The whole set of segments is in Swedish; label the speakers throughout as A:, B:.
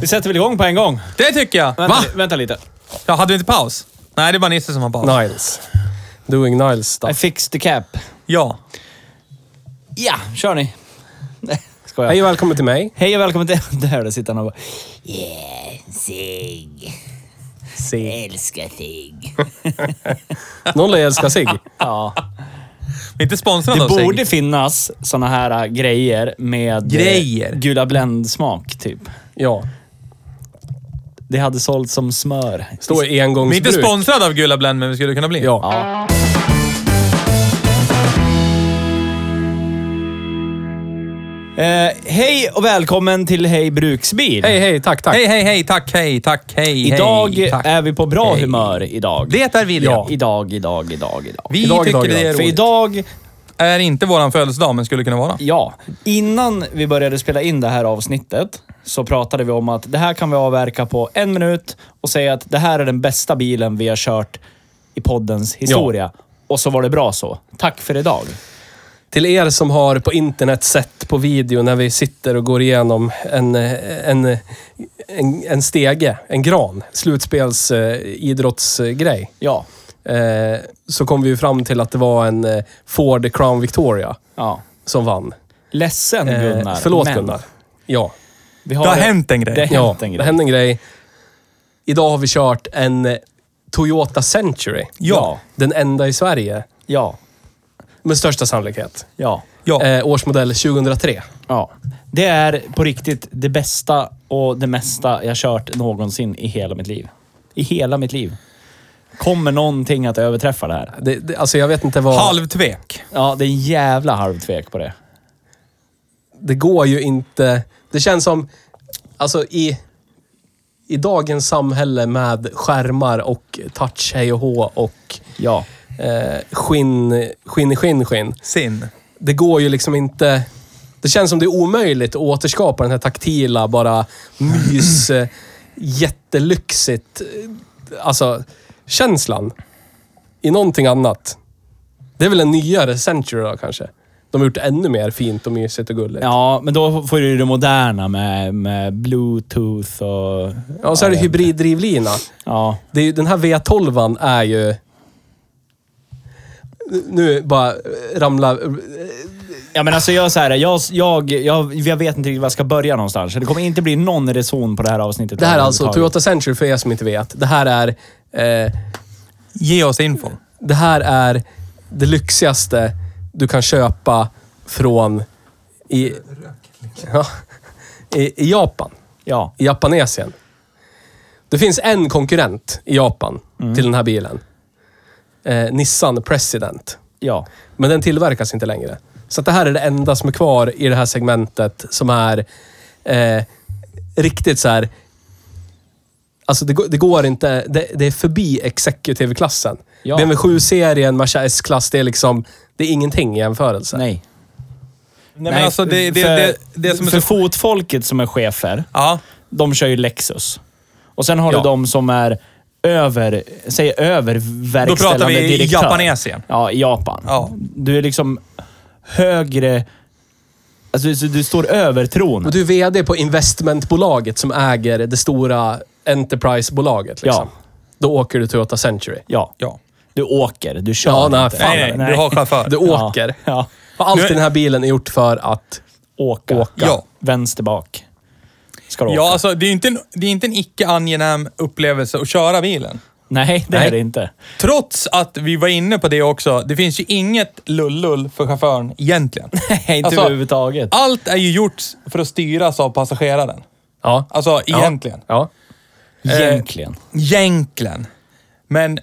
A: Vi sätter väl igång på en gång.
B: Det tycker jag!
A: Vänta,
B: Va?
A: li- vänta lite.
B: Ja, hade vi inte paus? Nej, det var Nisse som har paus.
C: Niles. Doing Niles
A: I
C: stuff.
A: fixed the cap.
B: Ja.
A: Ja, kör ni. Nej, skojar.
C: Hej och välkommen till mig.
A: Hej och välkommen till... Där sitter han och bara... Yeah, sig.
C: Sig.
A: Älskar sig.
C: Någon älskar sig.
A: Ja.
B: Vi är inte sponsrade
A: Det
B: av Sig.
A: borde finnas såna här äh, grejer med... eh,
B: Grejer?
A: Gula Blend-smak, typ.
C: Ja.
A: Det hade sålts som smör.
C: Står
B: Vi är inte
C: engångsbruk.
B: sponsrade av Gula Blend, men vi skulle kunna bli.
C: Ja.
A: Ja. Eh, hej och välkommen till Hej Bruksbil.
C: Hej, hej, tack, tack.
B: Hej, hej, hej, tack, hej, tack, hej,
A: Idag
B: hej, tack.
A: är vi på bra
B: Hej.
A: humör idag.
B: Det är William.
A: Ja. Idag, idag, idag, idag.
B: Vi
C: Idag,
B: tycker
C: idag,
B: det är
C: idag.
A: För
B: roligt.
A: idag,
B: Är inte våran födelsedag, men skulle kunna vara.
A: ja. Innan vi började spela in det här avsnittet så pratade vi om att det här kan vi avverka på en minut och säga att det här är den bästa bilen vi har kört i poddens historia. Och så var det bra så. Tack för idag.
C: Till er som har på internet sett på video när vi sitter och går igenom en, eh, en, eh, en, en stege, en gran, slutspels eh, idrottsgrej.
A: Ja.
C: Eh, så kom vi ju fram till att det var en eh, Ford Crown Victoria
A: ja.
C: som vann.
A: Ledsen
C: Eh,
A: Gunnar.
C: förlåt
A: men
C: Gunnar. Ja.
A: Vi
B: Det har hänt en grej.
A: Det har
C: Ja,
A: hänt en
C: det
A: grej.
C: hände en grej. Idag har vi kört en eh, Toyota Century.
A: Ja.
C: Den enda i Sverige,
A: Ja.
C: med största sannolikhet.
A: Ja.
B: Ja.
C: Eh, årsmodell 2003.
A: Ja. Det är på riktigt det bästa och det mesta jag kört någonsin i hela mitt liv. I hela mitt liv. Kommer någonting att överträffa det här?
C: Det, det, alltså jag vet inte vad...
B: Halvtvek.
A: Ja, det är en jävla halvtvek på det.
C: Det går ju inte... Det känns som... Alltså i... I dagens samhälle med skärmar och touch, hej och hå och
A: Ja.
C: eh, skinn, skinn i skinn, skinn.
B: Sin.
C: det går ju liksom inte... Det känns som det är omöjligt att återskapa den här taktila, bara mys, eh, jättelyxigt, eh, alltså känslan. I någonting annat. Det är väl en nyare Century då kanske? De har gjort ännu mer fint och mysigt och gulligt. Ja,
A: Ja, men då får du ju det moderna med, med bluetooth och...
C: och så är det
A: ja,
C: hybriddrivlina.
A: Ja.
C: Det är ju, den här V12an är ju... Nu bara ramla...
A: ja, men alltså jag så här, jag, jag, jag, jag vet inte riktigt var jag ska börja någonstans. Det kommer inte bli någon reson på det här avsnittet.
C: Det här är alltså
A: överhuvudtaget.
C: Toyota Century för er som inte vet. Det här är... Eh,
B: Ge oss info.
C: det här är det lyxigaste du kan köpa från i, ja, i, i Japan,
A: Ja.
C: i Japanesien. Det finns en konkurrent i Japan
B: Mm.
C: till den här bilen. Eh, Nissan President.
A: Ja.
C: Men den tillverkas inte längre. Så att det här är det enda som är kvar i det här segmentet som är eh, riktigt så här... Alltså det, går- det går inte... Det, det är förbi executive-klassen.
A: Ja.
C: BMW 7-serien, Merca S-klass, det är liksom... Det är ingenting i jämförelse.
A: Nej.
B: Nej, men alltså det, det,
A: för,
B: det, det som är
A: för
B: så...
A: fotfolket som är chefer,
B: Ja.
A: de kör ju Lexus. Och sen har
C: Ja.
A: du de som är över, säg över
B: Då
A: verkställande
B: pratar vi
A: direktör.
B: Japanesien.
A: Ja, i Japan.
B: Ja.
A: Du är liksom högre... Alltså du, du står över tron.
C: Och du är VD på investmentbolaget som äger det stora enterprise-bolaget. Liksom.
A: Ja.
C: Då åker du Toyota Century.
A: Ja.
B: Ja.
A: Du åker, du kör
C: Ja, nej,
A: inte.
C: fan.
B: Nej, nej, du har chaufför.
C: Du
A: Ja.
C: åker.
A: Ja.
C: Och allt
B: Nu är-
C: i den här bilen är gjort för att...
A: Åka.
C: Åka.
B: Ja.
A: Vänster bak. Ska du åka.
B: Ja, alltså det är ju inte en, det är inte en icke angenäm upplevelse att köra bilen.
A: Nej, det
C: Nej.
A: är det inte.
B: Trots att vi var inne på det också, det finns ju inget lullull för chauffören egentligen.
A: Nej, inte
B: Alltså,
A: överhuvudtaget.
B: Allt är ju gjort för att styras av passageraren.
C: Ja.
B: Alltså egentligen.
C: Ja.
A: Egentligen.
B: Egentligen. Men,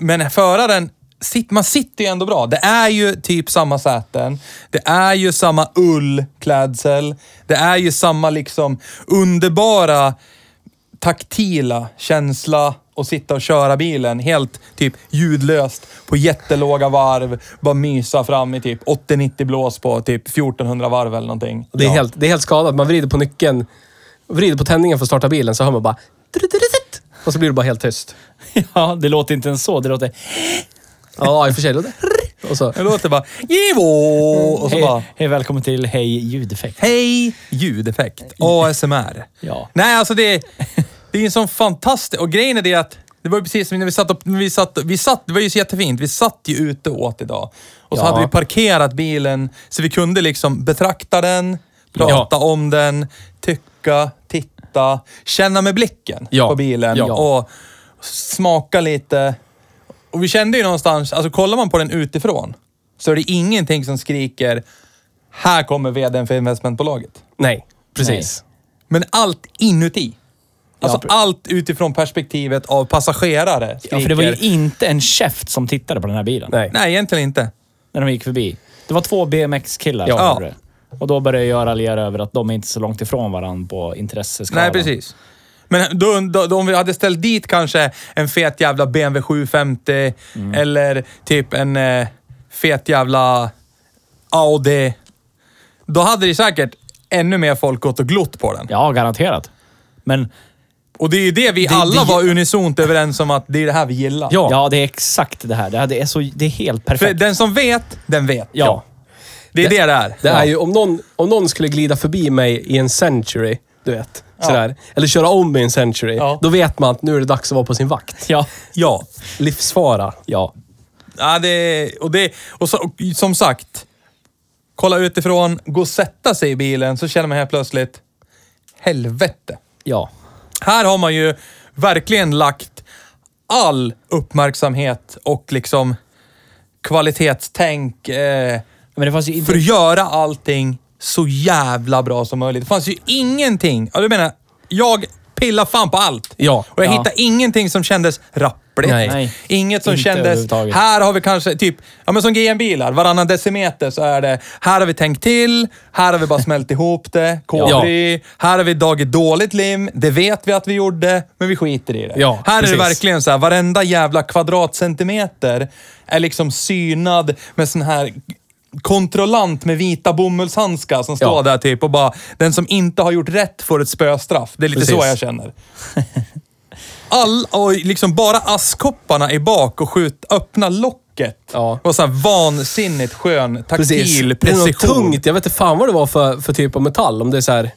B: men föraren, sit, man sitter ju ändå bra. Det är ju typ samma säten. Det är ju samma ullklädsel. Det är ju samma liksom underbara taktila känsla och sitta och köra bilen helt typ ljudlöst på jättelåga varv. Bara mysa fram i typ 80-90 blås på typ 1400 varv eller någonting.
C: Det, är helt, det är helt skadat. Man vrider på nyckeln, vrider på tändningen för att starta bilen så hör man bara... "Truttruttrut", Och så blir det bara helt tyst.
A: Ja, det låter inte ens så. Det låter...
C: Ja, i och för sig. då det- Och så,
B: Det låter bara Givo! Och så bara...
A: Hej, hej, välkommen till Hej ljudeffekt.
B: Hej ljudeffekt. ASMR.
A: Ja.
B: Nej, alltså det, det är en sån fantastisk... Och grejen är det att det var ju precis som när vi satt, upp, när vi satt, vi satt Det var ju så jättefint. Vi satt ju ute och åt idag. Och så
C: Ja.
B: hade vi parkerat bilen så vi kunde liksom betrakta den, prata om den, tycka, titta, känna med blicken
C: Ja.
B: på bilen
C: Ja.
B: och smaka lite. Och vi kände ju någonstans, alltså kollar man på den utifrån så är det ingenting som skriker här kommer vdn för investmentbolaget.
C: nej, precis.
B: Men allt inuti. Alltså
A: Ja, pre-
B: allt utifrån perspektivet av passagerare skriker.
A: Ja, för det var ju inte en käft som tittade på den här bilen
C: Nej.
B: Nej, egentligen inte.
A: när de gick förbi. Det var två BMX-killar som
B: Ja.
A: gjorde det. Och då började jag raljera över att de är inte så långt ifrån varandra på intresseskalan.
B: Nej, precis. Men då, då, då, om vi hade ställt dit kanske en fet jävla BMW 750 eller typ en eh, fet jävla Audi. Då hade det säkert ännu mer folk gått och glott på den.
A: Ja, garanterat. Men
B: Och det är ju det vi alla var unisont överens om att det är det här vi gillar.
A: ja, det är exakt det här. Det, här, det, är, så, det är helt
B: För
A: perfekt.
B: den som vet, den vet.
A: ja.
B: Det är det det är.
C: Det är ju om någon, om någon skulle glida förbi mig i en century, du vet. Sådär. Eller köra om mig i en century.
B: Ja.
C: Då vet man att nu är det dags att vara på sin vakt.
A: Ja.
B: Ja.
C: Livsfara.
A: Ja.
B: Ja, det, och det, och, så, och som sagt, kolla utifrån, gå och sätta sig i bilen så känner man helt plötsligt, helvete.
A: Ja.
B: Här har man ju verkligen lagt all uppmärksamhet och liksom kvalitetstänk eh,
A: Men det fanns ju inte...
B: för att göra allting så jävla bra som möjligt. Det fanns ju ingenting. Ja, du menar, jag pillar fan på allt.
C: Ja.
B: Och jag
A: Ja.
B: hittade ingenting som kändes rappligt.
C: Nej.
A: Nej.
B: Inget som
A: Inte
B: kändes,
A: överhuvudtaget.
B: här har vi kanske typ, ja men som GM-bilar, varannan decimeter så är det, här har vi tänkt till, här har vi bara smält ihop det, kolbry, här har vi dragit dåligt lim, det vet vi att vi gjorde, men vi skiter i det.
C: Ja,
B: här är det
C: precis.
B: verkligen så här, varenda jävla kvadratcentimeter är liksom synad med sån här kontrollant med vita bomullshandskar som står
C: Ja.
B: där typ och bara, den som inte har gjort rätt får ett spöstraff. Det är lite så
C: Precis.
B: jag känner. All, och liksom bara askkopparna i bak och skjut, öppna locket.
C: Ja.
B: Det var så här vansinnigt skön taktil
C: Det är något
B: precision.
C: tungt. Jag vet inte fan vad det var för, för typ av metall. Om det är så här,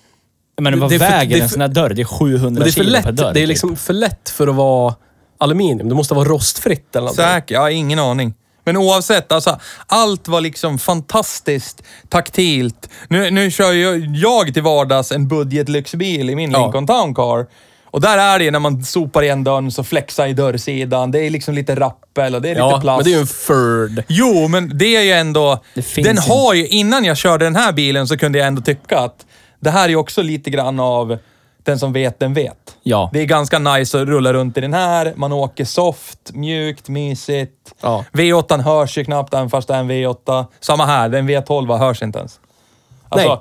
A: Men vad
C: det är för-
A: väger
C: det är
A: en
C: för-
A: sån här dörr? Det är 700
C: men det är för
A: kilo per
C: lätt.
A: dörr.
C: det är
A: typ.
C: liksom för lätt för att vara aluminium. Det måste vara rostfritt eller något.
B: Säkert, jag har ingen aning. Men oavsett, alltså, allt var liksom fantastiskt taktilt. Nu, nu kör ju jag till vardags en budgetlyxbil i min
C: Ja.
B: Lincoln Town Car. Och där är det ju när man sopar igen dörren så flexar i dörrsidan. Det är liksom lite rappel och det är
C: Ja,
B: lite plast.
C: men det är ju en Ford.
B: Jo, men det är ju ändå...
A: Det finns
B: Den
A: inte.
B: har ju, innan jag körde den här bilen så kunde jag ändå tycka att det här är ju också lite grann av den som vet, den vet.
A: Ja.
B: Det är ganska nice att rulla runt i den här. Man åker soft, mjukt, mysigt.
C: Ja.
B: V8 hörs ju knappt även fast det är en V8. Samma här, den V12 hörs inte ens. Alltså,
C: Nej.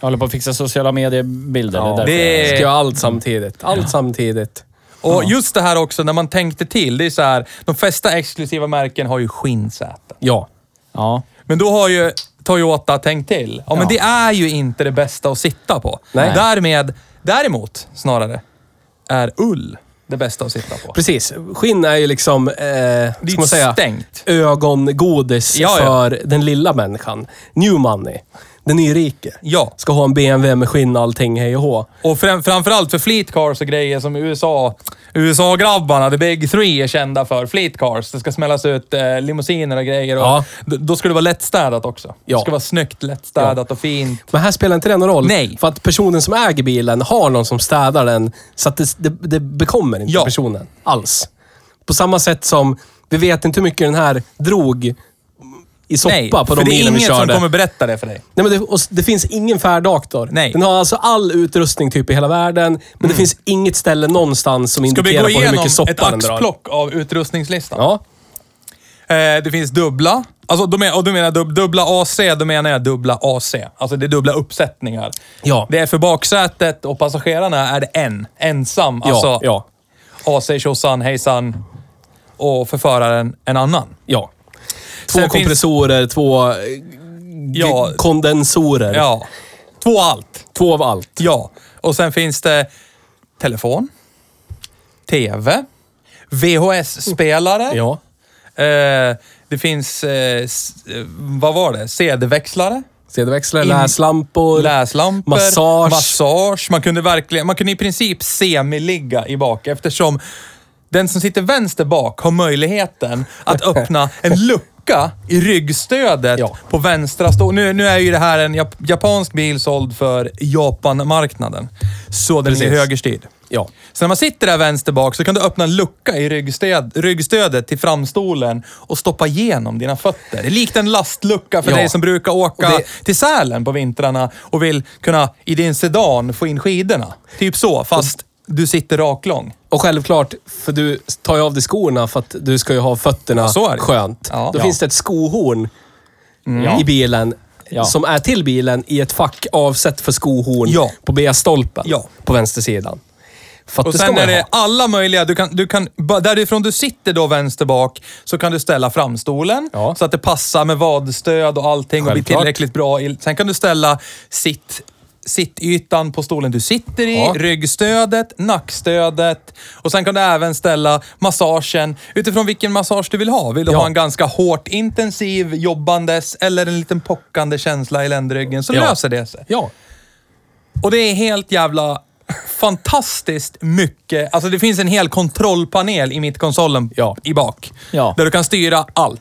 A: Jag håller på att fixa sociala mediebilder.
C: Ja,
A: det är därför
B: det-
A: jag-
C: Ska göra allt samtidigt. Allt samtidigt.
B: Och just det här också när man tänkte till. Det är så här, de flesta exklusiva märken har ju skinnsäten.
C: Ja.
A: Ja.
B: Men då har ju Toyota tänkt till. Ja, men det är ju inte det bästa att sitta på.
C: Nej.
B: Därmed, däremot snarare, är ull det bästa att sitta på.
C: Precis. Skinn är ju liksom, eh,
B: Det
C: ska
B: är
C: man säga,
B: stängt.
C: ögongodis
B: Ja, ja.
C: för den lilla människan. New money. Den nyrike.
B: Ja.
C: Ska ha en BMW med skinn och allting, hej och hå.
B: Och fram, framförallt för fleet cars och grejer som USA, USA-grabbarna, the big three, är kända för. Fleet cars. Det ska smällas ut eh, limousiner och grejer. Och
C: Ja.
B: d- Då ska det vara lättstädat också.
C: Ja.
B: Det ska vara snyggt, lättstädat och fint.
C: Men här spelar inte det någon roll.
B: Nej.
C: För att personen som äger bilen har någon som städar den. Så att det, det, det bekommer inte
B: Ja.
C: personen alls. På samma sätt som vi vet inte hur mycket den här drog i soppa
B: Nej,
C: på de
B: för det är
C: bilen vi
B: inget som
C: körde.
B: kommer berätta det för dig.
C: Nej, men det, och s- det finns ingen färdaktor.
B: Nej. Mm.
C: Den har alltså all utrustning typ i hela världen, men det finns inget ställe någonstans som
B: Ska vi
C: indikerar
B: gå
C: på hur
B: igenom
C: mycket soppa
B: ett
C: den drar.
B: axplock av utrustningslistan?
C: Ja.
B: Eh, det finns dubbla. Alltså, då men, och då menar jag dub, dubbla AC, då menar jag dubbla AC. Alltså det är dubbla uppsättningar.
C: Ja.
B: Det är för baksätet och passagerarna är det en. Ensam.
C: Ja,
B: alltså
C: ja.
B: AC, tjosan, hejsan. Och för föraren en annan.
C: Ja. Två
B: Sen finns-
C: kompressorer, två eh, g-
B: Ja.
C: kondensorer.
B: Ja. Två allt.
C: Två av allt.
B: Ja. Och sen finns det telefon, TV, VHS-spelare.
C: Ja.
B: Eh, det finns, eh, s- eh, vad var det? CD-växlare.
C: CD-växlare,
B: In-
C: läslampor.
B: Läslampor,
C: Massage.
B: massage. Man kunde verkligen, man kunde i princip semiligga i bak eftersom den som sitter vänster bak har möjligheten att öppna en lucka i ryggstödet
C: Ja.
B: på vänstra stå. Nu, nu är ju det här en jap japansk bil såld för Japan-marknaden. Så den är
C: Precis.
B: högerstyrd.
C: Ja.
B: Så när man sitter där vänster bak så kan du öppna en lucka i ryggstöd, ryggstödet till framstolen och stoppa igenom dina fötter. Det är likt en lastlucka för
C: Ja.
B: dig som brukar åka
C: Och det-
B: till Sälen på vintrarna och vill kunna i din sedan få in skidorna. Typ så, fast du sitter raklång.
C: Och självklart, för du tar ju av dig skorna för att du ska ju ha fötterna
B: så är det.
C: skönt.
B: Ja.
C: Då
B: Ja. Mm.
C: finns det ett skohorn i bilen
A: Ja.
C: som är till bilen i ett fack avsett för skohorn
B: Ja.
C: på B-stolpen
B: Ja.
C: på vänstersidan. För att
B: Och
C: det ska
B: sen
C: man
B: är
C: ju
B: det
C: ha.
B: alla möjliga. Du kan, du kan, ba- därifrån du sitter då vänster bak så kan du ställa framstolen
C: Ja.
B: så att det passar med vadstöd och allting och blir
C: Självklart.
B: tillräckligt bra. i- Sen kan du ställa sitt sittytan på stolen du sitter i,
C: Ja.
B: ryggstödet, nackstödet och sen kan du även ställa massagen utifrån vilken massage du vill ha. Vill du
C: Ja.
B: ha en ganska hårt intensiv jobbandes eller en liten pockande känsla i ländryggen så
C: Ja.
B: löser det sig.
C: Ja.
B: Och det är helt jävla fantastiskt mycket. Alltså det finns en hel kontrollpanel i mittkonsolen
C: Ja.
B: i bak.
A: Ja.
B: Där du kan styra allt.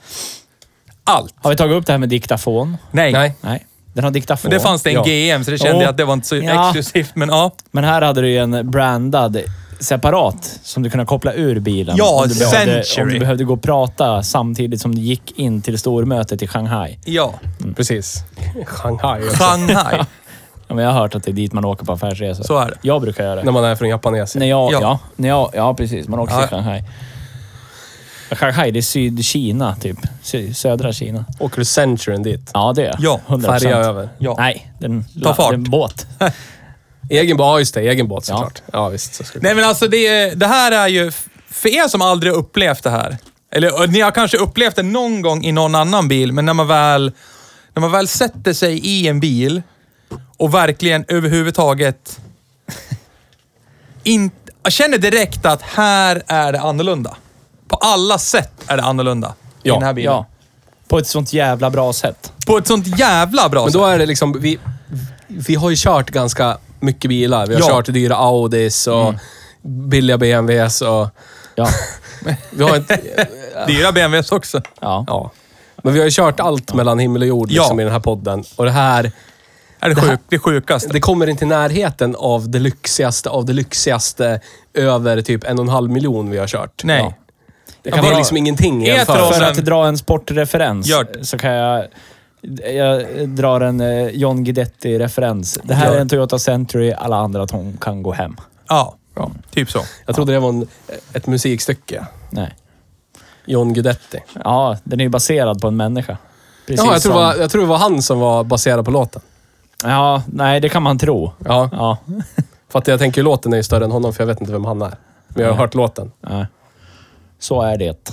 B: Allt.
A: Har vi tagit upp det här med diktafon?
B: Nej.
C: Nej.
A: Nej. Den har diktafon.
B: Men det fanns det en
C: Ja.
B: GM, så det kände
A: Ja.
B: jag att det var inte så
A: Ja.
B: exklusivt. Men ja.
A: Men här hade du ju en brandad separat som du kunde koppla ur bilen.
B: Ja,
A: om du behövde,
B: Century.
A: om du behövde gå och prata samtidigt som du gick in till stormötet i Shanghai.
B: Ja.
C: Precis. Shanghai. också.
B: Shanghai.
A: Ja, men jag har hört att det är dit man åker på affärsresor.
B: Så är det.
A: Jag brukar göra det.
C: När man är från Japanesien.
A: När jag,
B: Ja.
A: ja. när jag, ja, precis. Man åker
B: Ja.
A: till Shanghai. Shanghai, det är Sydkina, typ. Sy- Södra Kina.
C: Åker du Centuryn dit?
A: Ja, det är
B: Ja,
A: 100
C: Färja över.
B: Ja.
A: Nej, den,
B: Ta fart.
A: den båt.
C: Egen båt, ja just det. Egen båt
A: Ja.
C: såklart. Ja, visst. Så ska det-
B: Nej men alltså det, är- det här är ju, för er som aldrig har upplevt det här, eller och ni har kanske upplevt det någon gång i någon annan bil, men när man väl, när man väl sätter sig i en bil och verkligen överhuvudtaget in, jag känner direkt att här är det annorlunda. På alla sätt är det annorlunda i
C: Ja,
B: den här bilen.
A: Ja. På ett sånt jävla bra sätt.
B: På ett sånt jävla bra
C: Men
B: sätt.
C: då är det liksom, vi, vi har ju kört ganska mycket bilar. Vi har
B: Ja. Mm.
C: kört dyra Audis och billiga BMWs och...
A: Ja.
C: Vi har inte,
B: Dyra BMWs också.
A: Ja.
C: ja. Men vi har ju kört allt mellan himmel och jord liksom,
B: Ja.
C: i den här podden. Och det här,
B: Är det,
C: Det här-
B: sjuk, det sjukaste.
C: det kommer inte i närheten av det lyxigaste av det lyxigaste över typ en och en halv miljon vi har kört.
B: Nej.
C: Ja. Det,
B: kan
C: det är
B: vara-
C: liksom ingenting i
B: Heter
C: jämförelse.
B: oss-
A: För
B: sen-
A: att dra en sportreferens
B: Gör det.
A: så kan jag... Jag drar en eh, John Guidetti-referens. Det här
B: Gör.
A: är en Toyota Century, alla andra ton- kan gå hem.
B: Ja, typ så.
C: Jag trodde det var en, ett musikstycke.
A: Nej.
C: John Guidetti.
A: Ja, den är ju baserad på en människa. Precis
C: Ja, jag, tror det
A: som-
C: var, jag tror det var han som var baserad på låten.
A: Ja, nej, det kan man tro.
C: Ja.
A: Ja.
C: För att jag tänker låten är ju större än honom, för jag vet inte vem han är. Men jag har hört låten.
A: nej. Så är det.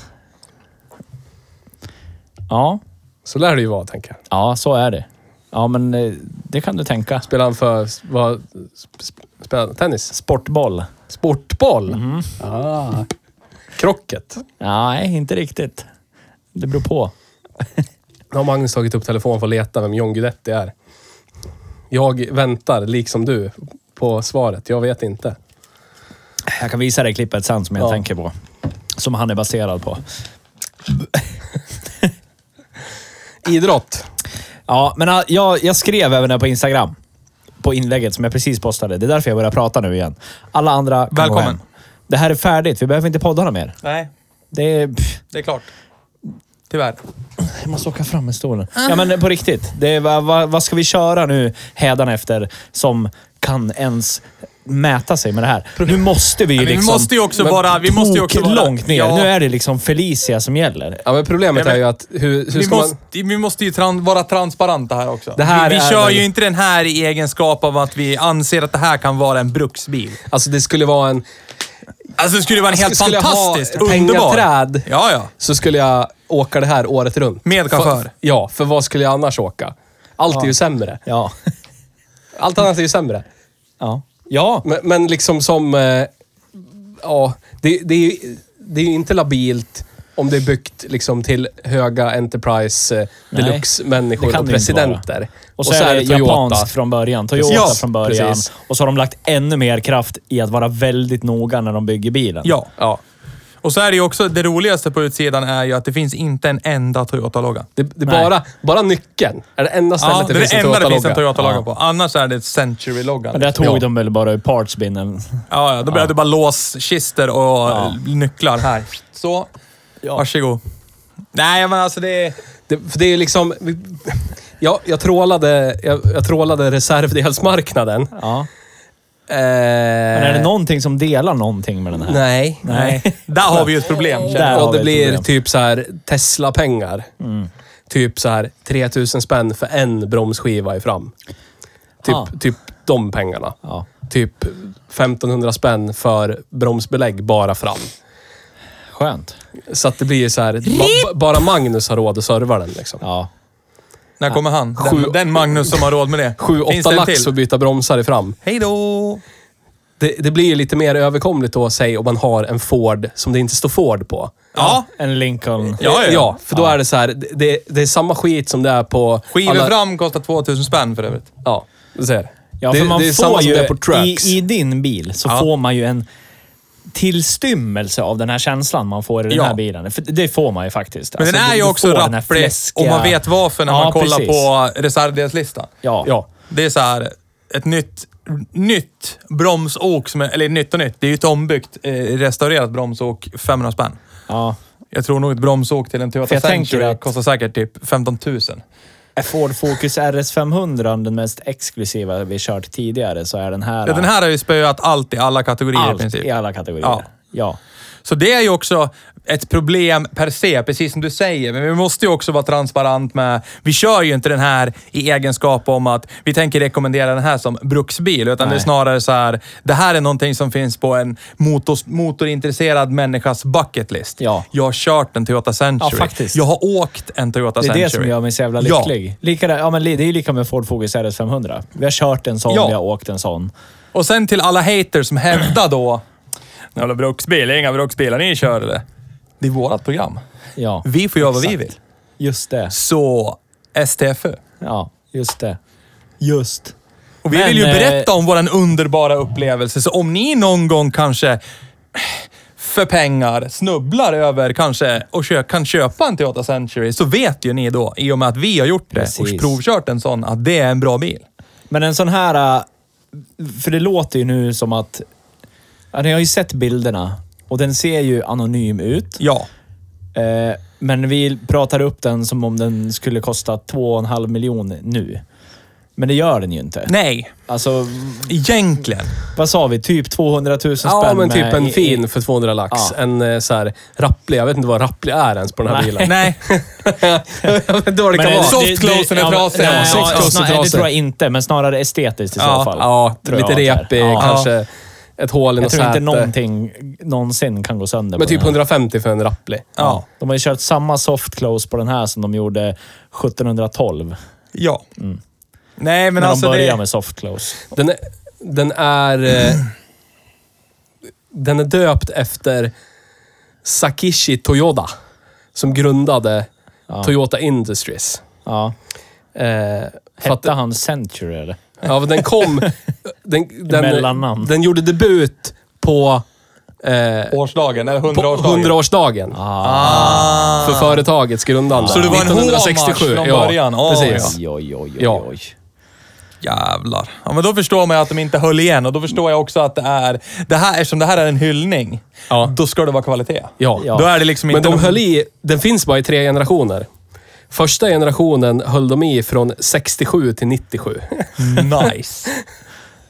A: Ja,
C: Så lär det ju vara, tänker jag.
A: ja, så är det. Ja, men eh, det kan du tänka.
C: Spelar han för... Vad, sp- spelar han tennis?
A: Sportboll?
C: Sportboll?
B: Mhm.
C: Ah. Krocket.
A: Nej, inte riktigt. Det beror på.
C: Nu har Magnus tagit upp telefonen för att leta vem John Guidetti är. Jag väntar, liksom du, på svaret. Jag vet inte.
A: Jag kan visa dig klippet sen som jag
C: Ja.
A: tänker på. Som han är baserad på.
C: Idrott.
A: Ja, men ah, jag, jag skrev även det på Instagram. På inlägget som jag precis postade. Det är därför jag börjar prata nu igen. Alla andra kan gå
B: Välkommen.
A: hem. Det här är färdigt. Vi behöver inte podda något mer.
B: Nej.
A: Det är... Pff,
B: Det är klart. Tyvärr.
A: jag måste åka fram med stolen. Ja, men på riktigt. Det är, vad, vad, vad ska vi köra nu efter som kan ens mäta sig med det här? Nu måste vi ju
B: Men vi
A: liksom...
B: måste ju också vara... Vi måste ju också vara...
A: långt ner.
B: Ja,
A: Nu är det liksom Felicia som gäller.
C: Ja, men problemet
B: Ja, men-
C: är ju att hur, hur
B: vi,
C: ska
B: måste,
C: man...
B: vi måste ju tran, vara transparenta här också.
C: Det här
B: vi vi
C: är
B: kör
C: väl-
B: ju inte den här i egenskap av att vi anser att det här kan vara en bruksbil.
C: Alltså det skulle vara en...
B: Alltså det skulle vara en helt
C: Skulle jag ha
B: fantastisk, underbar...
C: pengaträd?
B: Ja, ja.
C: Så skulle jag åka det här året runt.
B: Med chaufför.
C: För, ja, för vad skulle jag annars åka? Allt är ju sämre.
A: Ja.
C: Allt annat är ju sämre.
A: Ja. Ja.
C: Men, men liksom som... eh, Ja, det, det, är ju, det är ju inte labilt om det är byggt liksom till höga Enterprise eh,
A: Nej, det
C: Deluxe-människor
A: kan
C: och
A: det ju inte
C: presidenter.
A: Och så, är det japanskt från början. Toyota
B: Ja,
A: från början.
C: precis.
A: Och så har de lagt ännu mer kraft i att vara väldigt noga när de bygger bilen.
B: Ja.
C: Ja.
B: Och så är det ju också, det roligaste på utsidan är ju att det finns inte en enda Toyota-logga.
C: Det, det är
A: Nej.
C: bara, bara nyckeln är det enda stället
B: Ja, det
C: det,
B: är
C: finns
B: det enda det finns en
C: en Toyota-logga.
B: Toyota-logga på. Annars är det Century-loggan.
A: Men där tog
C: Ja.
A: de väl bara ur partsbinnen.
B: Ja, ja, då blir det bara låskister och nycklar här. Så,
A: Ja.
B: varsågod. Nej, men alltså det är...
C: Det, för det är ju liksom... Ja, jag trålade, jag, jag trålade reservdelsmarknaden.
A: Ja.
C: Eh,
A: Men är det någonting som delar någonting med den här?
C: Nej.
A: Nej.
B: Där har vi ju ett problem. känner jag.
A: Där har
C: och det
A: vi ett
C: blir
A: problem.
C: typ så här Tesla-pengar.
B: Mm.
C: Typ så här 3000 spänn för en bromsskiva i fram. Typ,
A: Ah.
C: typ de pengarna.
A: Ja.
C: Typ 1500 spänn för bromsbelägg bara fram.
A: Skönt.
C: Så att det blir så här, ba, bara Magnus har råd att serva den liksom.
A: Ja.
B: När kommer han?
C: Sju-
B: Den, den Magnus som har råd med det. Finns
C: 7-8
B: det en
C: lax för
B: till?
C: att byta bromsar i fram.
B: Hej då!
C: Det, det blir ju lite mer överkomligt då, säg om man har en Ford som det inte står Ford på.
B: Ja.
A: En Lincoln.
B: Ja, ja.
C: ja för då är det så här, det- det, det är samma skit som det är på...
B: Skivor
C: alla-
B: fram kostar 2000 spänn för övrigt.
C: Ja, du ser.
A: Ja, för
C: det,
A: man
C: det är
A: får
C: samma
A: ju,
C: som det är på Trucks.
A: I, I din bil så
B: Ja.
A: får man ju en tillstymmelse av den här känslan man får i den
B: Ja.
A: här bilen. För det får man ju faktiskt.
B: Men den
A: Alltså,
B: är
A: du-
B: ju
A: du
B: också
A: får den här
B: rapplig
A: fläskiga-
B: och man vet varför när
A: Ja,
B: man kollar
A: precis.
B: på reservdelslistan.
A: Ja.
C: Ja.
B: Det är så här, ett nytt, nytt bromsok, som är, eller nytt och nytt, det är ju ett ombyggt, eh, restaurerat bromsok, 500 spänn.
A: ja.
B: Jag tror nog ett bromsok till en
A: För
B: Toyota
A: jag tänker
B: Century
A: att-
B: kostar säkert typ 15 000.
A: Är Ford Focus RS500 den mest exklusiva vi kört tidigare så är den här,
B: Ja, den här har ju spöat allt i alla kategorier i
A: allt
B: princip.
A: i alla kategorier.
B: Ja.
A: Ja.
B: Så det är ju också ett problem per se, precis som du säger. Men vi måste ju också vara transparent med... Vi kör ju inte den här i egenskap om att vi tänker rekommendera den här som bruksbil, utan det är
A: Nej.
B: snarare så här. Det här är någonting som finns på en motors, motorintresserad människas bucket list.
A: Ja.
B: Jag har kört en Toyota Century.
A: Ja, faktiskt.
B: Jag har åkt en Toyota
A: Det är
B: Century.
A: det som gör mig så jävla
B: Ja.
A: lycklig. Lika, där- ja, men li- det är ju lika med Ford Focus RS500. Vi har kört en sån,
B: Ja.
A: vi har åkt en sån.
B: Och sen till alla haters som hävdar då... Jävla bruksbil, det är inga bruksbilar ni kör eller? Det är vårt program.
A: Ja,
B: Vi får göra vad vi
A: Exakt.
B: vill.
A: just det.
B: Så STFU.
A: Ja, just det. Just.
B: Och vi
A: Men,
B: vill ju
A: eh,
B: berätta om vår underbara upplevelse, så om ni någon gång kanske för pengar snubblar över kanske och kö- kan köpa en Toyota Century, så vet ju ni då, i och med att vi har gjort det och
A: Precis.
B: provkört en sån, att det är en bra bil.
A: Men en sån här... äh, För det låter ju nu som att... ja, Jag har ju sett bilderna och den ser ju anonym ut.
B: Ja.
A: Eh, Men vi pratar upp den som om den skulle kosta 2,5 miljon nu. Men det gör den ju inte.
B: Nej,
A: Alltså,
B: egentligen.
A: vad sa vi? Typ 200 000 spänn?
C: Ja, men
A: med-
C: typ en
A: i-
C: fin för 200 lax.
A: Ja.
C: En eh, så här rapplig. Jag vet inte vad rapplig är ens på den här
A: Nej.
C: bilen.
B: Nej,
C: jag vet inte vad det
A: Men
C: kan vara.
B: det- Softclosen är
A: ja, men-
B: trasig.
A: nej,
B: Ja,
A: Ja,
C: softclosen är
A: snar- det
C: trasig.
A: tror jag inte, men snarare estetiskt i
B: Ja,
A: så fall.
C: ja,
A: tror
C: lite
A: jag att det är.
C: repig.
A: Ja.
C: Kanske ett hål i
A: Jag
C: något
A: tror inte
C: säte.
A: någonting någonsin kan gå sönder
C: Men
A: på den
C: typ
A: här.
C: 150 för en rapplig.
B: Ja.
A: De har ju kört samma soft close på den här som de gjorde 1712.
B: ja. Nej, men,
A: Mm. när
B: alltså
A: de började
B: det...
A: med soft close.
C: Den är... Den är, eh, den är döpt efter Sakishi Toyoda, som grundade Toyota Industries.
A: Ja.
C: Eh, för att-
A: Hette han Century eller?
C: Ja, men den kom... Den, den,
A: Mellannamn.
C: den gjorde debut på eh,
B: Årsdagen, eller
C: på
B: 100-årsdagen.
C: 100-årsdagen
B: ah.
C: för företagets grundande.
B: Så det var en
C: 1967,
B: hommage från
C: ja,
B: början? Oj,
C: Precis.
A: Oj, oj, oj,
C: Ja.
A: oj.
B: Jävlar. Ja, men då förstår man ju att de inte höll igen och då förstår jag också att det är... Det här, eftersom det här är en hyllning,
C: Ja.
B: då ska det vara kvalitet.
C: Ja.
A: Ja.
B: Då är det liksom
C: Men
B: inte...
C: de
B: någon-
C: höll i, den finns bara i tre generationer. Första generationen höll de i från 67 till 97.
B: Nice.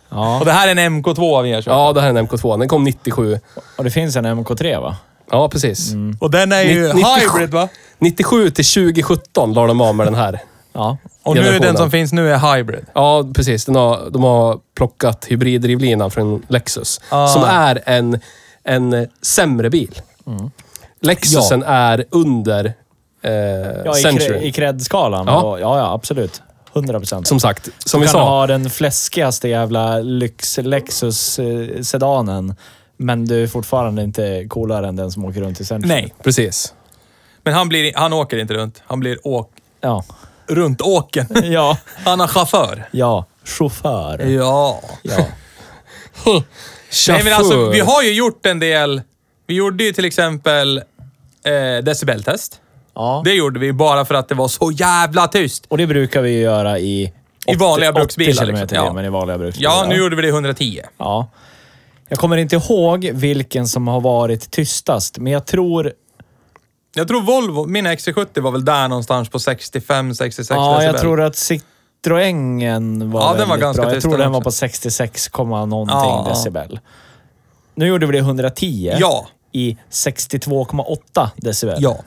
A: Ja.
B: Och det här är en MK2 vi har köpt.
C: Ja, det här är en MK2. Den kom 97.
A: Och det finns en MK3 va?
C: Ja, precis.
B: Och den är ju
C: 97.
B: hybrid va?
C: 97 till 2017 la de av med den här.
A: Ja.
B: Och nu är den
C: Generationen.
B: som finns nu är hybrid.
C: Ja, precis. Den har, de har plockat hybriddrivlinan från Lexus.
B: Ah.
C: Som är en, en sämre bil.
B: Mm.
C: Lexusen är under
A: ja
C: eh,
A: I, cre-
C: Century.
A: i cred-skalan.
C: Ja.
A: Ja. ja, ja, absolut. 100 procent.
C: Som sagt, som
A: Du kan
C: vi sa.
A: ha den fläskigaste jävla lyx Lexus-sedanen, men du är fortfarande inte coolare än den som åker runt i centrum.
B: Nej.
C: Precis.
B: Men han, blir, han åker inte runt. Han blir åk,
A: Ja.
B: runt åken.
A: Ja.
B: Han är chaufför.
A: Ja. Chaufför.
B: Ja.
A: Ja.
B: Nej, men alltså,
C: Chaufför.
B: vi har ju gjort en del. Vi gjorde ju till exempel eh, decibeltest.
A: ja.
B: Det gjorde vi bara för att det var så jävla tyst.
A: Och det brukar vi ju göra i...
B: vanliga
A: 80
B: bruksbilar,
A: kilometer
B: liksom.
A: i
B: Ja.
A: timmen i vanliga bruksbilar.
B: Ja, nu gjorde vi det i 110.
A: Ja. Jag kommer inte ihåg vilken som har varit tystast, men jag tror...
B: Jag tror Volvo, min XC70 var väl där någonstans på 65, 66
A: Ja,
B: decibel.
A: jag tror att Citroengen var
B: Ja, den var
A: väldigt
B: ganska
A: bra. Jag
B: tyst
A: tror
B: den
A: den var
B: också.
A: på 66, komma någonting
B: Ja, ja.
A: decibel. Nu gjorde vi det i 110
B: Ja.
A: i 62,8 decibel.
B: Ja.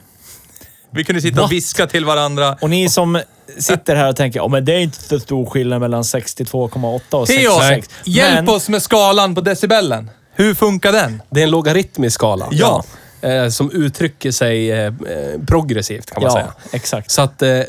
B: Vi kunde sitta och viska till varandra.
A: Och ni som sitter här och tänker, oh, men det är inte så stor skillnad mellan 62,8
B: Theo,
A: och 66.
B: hjälp
A: men,
B: oss med skalan på decibellen. Hur funkar den?
C: Det är en logaritmisk skala.
B: Ja.
C: Eh, som uttrycker sig eh, eh, progressivt kan man
A: Ja,
C: säga.
A: exakt.
C: Så att eh,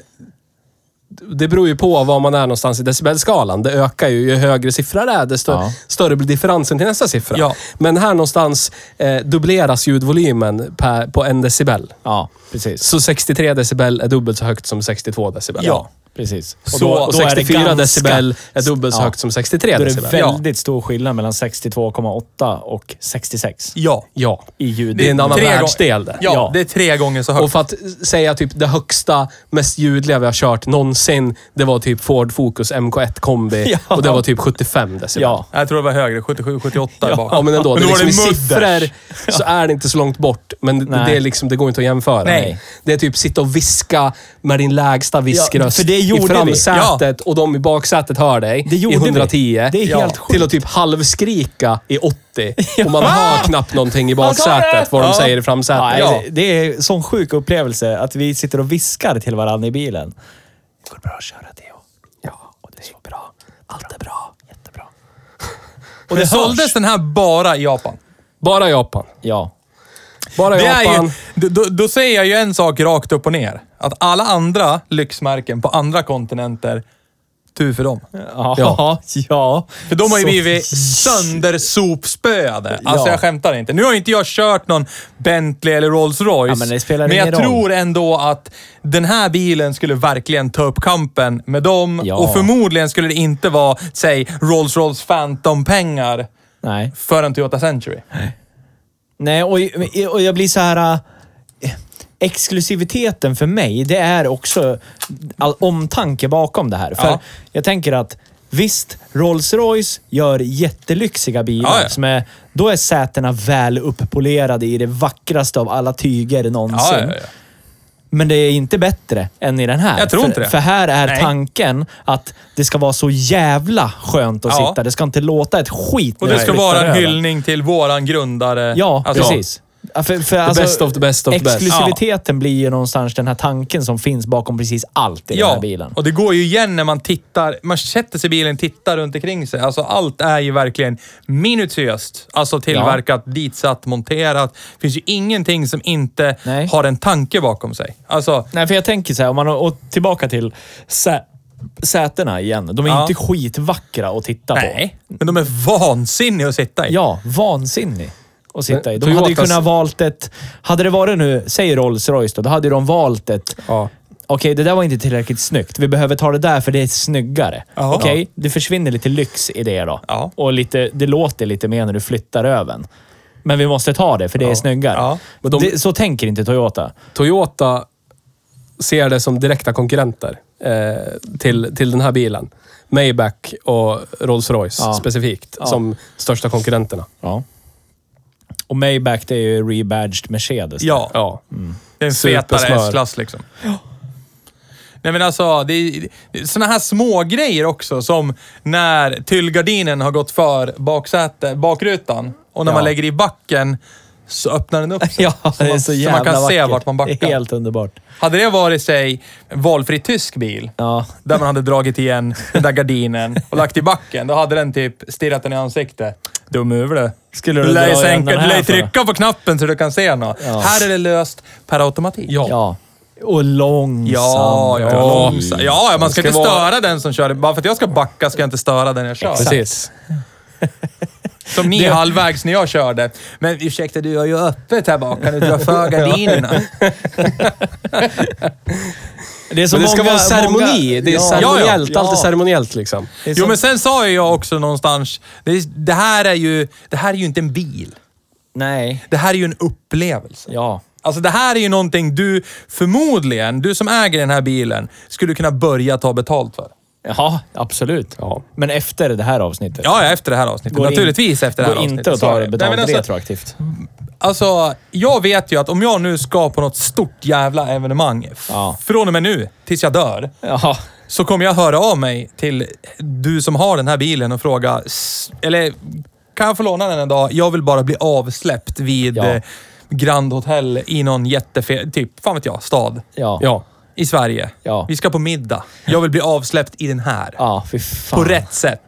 C: det beror ju på var man är någonstans i decibelskalan. Det ökar ju. Ju högre siffra det är, desto
A: Ja.
C: större blir differensen till nästa siffra.
B: Ja.
C: Men här någonstans eh, dubbleras ljudvolymen per, på en decibel.
A: Ja, precis.
C: Så 63 decibel är dubbelt så högt som 62 decibel.
B: Ja.
A: Precis. Och,
C: Så, och 64
A: ganska-
C: decibel är dubbelt så
A: Ja.
C: högt som 63
A: Då är det
C: decibel.
A: väldigt stor skillnad mellan 62,8 och 66
B: Ja.
C: Ja.
A: i ljud.
C: Det är en annan
B: Tre gång-
C: världsdel det.
B: Ja, det är tre gånger så högt.
C: Och för att säga typ det högsta, mest ljudliga vi har kört någonsin, det var typ Ford Focus MK1 kombi.
A: Ja.
C: Och det var typ 75 decibel.
A: Ja.
B: Jag tror det var högre. 77, 78 ja. bak.
C: Ja, men ändå. det är
B: då var
C: liksom i
B: det mudders.
C: siffror så är det inte så långt bort, men det,
A: Nej.
C: det, är liksom, det går inte att jämföra.
B: Nej.
C: Det är typ sitta och viska med din lägsta viskröst
A: för det gjorde
C: i
A: vi.
C: framsätet och de i baksätet hör dig
A: Det gjorde
C: i 110.
A: vi. Det är helt sjukt.
C: Till att typ halvskrika i 80 och man hör knappt någonting i baksätet vad de
B: Ja.
C: säger i framsätet.
A: Nej,
B: Ja.
A: det- Det är en sån sjuk upplevelse att vi sitter och viskar till varandra i bilen. Det går bra att köra, Theo. Ja, och det är bra. Allt är bra. Jättebra. Och
B: Men
A: det
B: såldes
A: hörs.
B: den här bara i Japan?
C: Bara Japan.
A: Ja.
C: Bara
B: Det är
C: Japan.
B: ju, då- då, då säger jag ju en sak rakt upp och ner. Att alla andra lyxmärken på andra kontinenter, tur för dem.
A: Ja. ja.
B: För de har ju
A: Så-
B: blivit söndersopspöade. Alltså
A: Ja.
B: jag skämtar inte. Nu har ju inte jag kört någon Bentley eller Rolls Royce.
A: Ja, men det spelar
B: men jag
A: ingen roll.
B: tror ändå att den här bilen skulle verkligen ta upp kampen med dem.
A: Ja.
B: Och förmodligen skulle det inte vara, säg, Rolls Royce Phantom-pengar
A: Nej.
B: för en Toyota Century.
A: Nej, och, och jag blir så här... eh, Exklusiviteten för mig, det är också all omtanke bakom det här. För
B: Ja.
A: jag tänker att visst, Rolls-Royce gör jättelyxiga bilar.
B: Ja, ja.
A: Som är, då är sätena väl uppolerade i det vackraste av alla tyger någonsin.
B: Ja, ja, ja.
A: Men det är inte bättre än i den här.
B: Jag tror
A: för,
B: inte det.
A: För här är
B: Nej.
A: tanken att det ska vara så jävla skönt att
B: Ja.
A: sitta. Det ska inte låta ett skit.
B: Och
A: när
B: det
A: jag
B: ska
A: flyttar
B: vara en
A: över.
B: hyllning till våran grundare.
A: Ja,
B: Alltså,
A: precis. Ja, För, för alltså,
C: best of the best of the best.
A: Exklusiviteten blir ju någonstans den här tanken som finns bakom precis allt i den
B: Ja,
A: här bilen.
B: och det går ju igen när man tittar. Man sätter sig i bilen, tittar runt omkring sig. Alltså allt är ju verkligen minutiöst. Alltså tillverkat, ditsatt, monterat. Det finns ju ingenting som inte
A: Nej.
B: har en tanke bakom sig. Alltså,
A: Nej, för jag tänker så här, om man och tillbaka till sä sätena igen. De är
B: Ja.
A: inte skitvackra att titta
B: nej. Men de är vansinniga att sitta
A: på.
B: i.
A: Ja, vansinnig att sitta i. De
C: Men
A: hade ju
C: Toyotas-
A: kunnat valt ett... Hade det varit nu, säg Rolls Royce då, då hade ju de valt ett...
C: Ja.
A: Okej, det där var inte tillräckligt snyggt. Vi behöver ta det där för det är snyggare.
B: Ja.
A: Okej, det försvinner lite lyx i det då.
B: Ja.
A: Och lite, det låter lite mer när du flyttar över. den. Men vi måste ta det för det är snyggare.
B: Ja.
C: Men de-
A: det, så tänker inte Toyota.
C: Toyota ser det som direkta konkurrenter eh, till, till den här bilen. Maybach och Rolls-Royce
A: Ja.
C: specifikt som största konkurrenterna.
A: Ja. Och Maybach, det är ju rebadged Mercedes.
B: Ja.
C: Ja.
B: Det är en
C: Supersmör.
B: fetare S-klass liksom. Nej men alltså, det är sådana här små grejer också som när tyllgardinen har gått för baksäte, bakrutan och när
A: Ja.
B: man lägger i backen så öppnar den upp sig.
A: Ja, det är
B: man-
A: så
B: så man
A: jävla
B: kan se
A: vackert.
B: vart man
A: Det
B: backar.
A: är helt underbart.
B: Hade det varit, säg, en valfri tysk bil
A: Ja.
B: där man hade dragit igen den där gardinen och lagt i backen, då hade den typ stirrat den i ansiktet. Dum huvud du.
A: Skulle
B: Du
A: du
B: lär ju
A: dra igen
B: sänka-
A: den
B: du lär ju
A: här för?
B: trycka på knappen så du kan se något. Här är det löst per automatik.
C: Ja.
A: Ja. Och långsam.
B: Ja, ja,
A: Ja.
B: långsam. ja, man ska,
C: Ska
B: inte
C: vara-
B: störa den som kör. Bara för att jag ska backa ska jag inte störa den jag kör.
C: Precis.
B: Som ni halvvägs när jag körde. Men ursäkta, du har ju öppet här bak. Kan du dra för gardinerna?
A: Det, är så
C: Men det ska
A: många-
C: vara en ceremoni.
A: många-
C: Det är
A: ja.
C: ceremoniellt.
A: Ja, ja.
C: Allt är ceremoniellt liksom.
A: Det är
B: Jo,
A: som-
B: men sen sa ju jag också någonstans, det, är- det, här är ju, det här är ju inte en bil.
A: Nej.
B: Det här är ju en upplevelse.
A: Ja.
B: Alltså det här är ju någonting du förmodligen, du som äger den här bilen, skulle kunna börja ta betalt för.
A: Ja, absolut.
C: Ja.
A: Men efter det här avsnittet.
B: Ja, ja, efter det här avsnittet.
A: Går in-
B: Naturligtvis efter det här
A: går
B: avsnittet.
A: inte att
B: så är
A: ta
B: det. Nej,
A: betalt
B: men alltså,
A: retroaktivt.
B: Alltså, jag vet ju att om jag nu ska på något stort jävla evenemang, f-
A: Ja.
B: från och med nu, tills jag dör,
A: Ja.
B: så kommer jag höra av mig till du som har den här bilen och fråga, "S- eller kan jag få låna den en dag? Jag vill bara bli avsläppt vid
A: Ja.
B: eh, Grand Hotel i någon jättefet, typ, fan vet jag, stad
A: Ja. Ja.
C: Ja.
B: i Sverige.
A: Ja.
B: Vi ska på middag. Jag vill bli avsläppt i den här.
A: ja, fy fan.
B: På rätt sätt.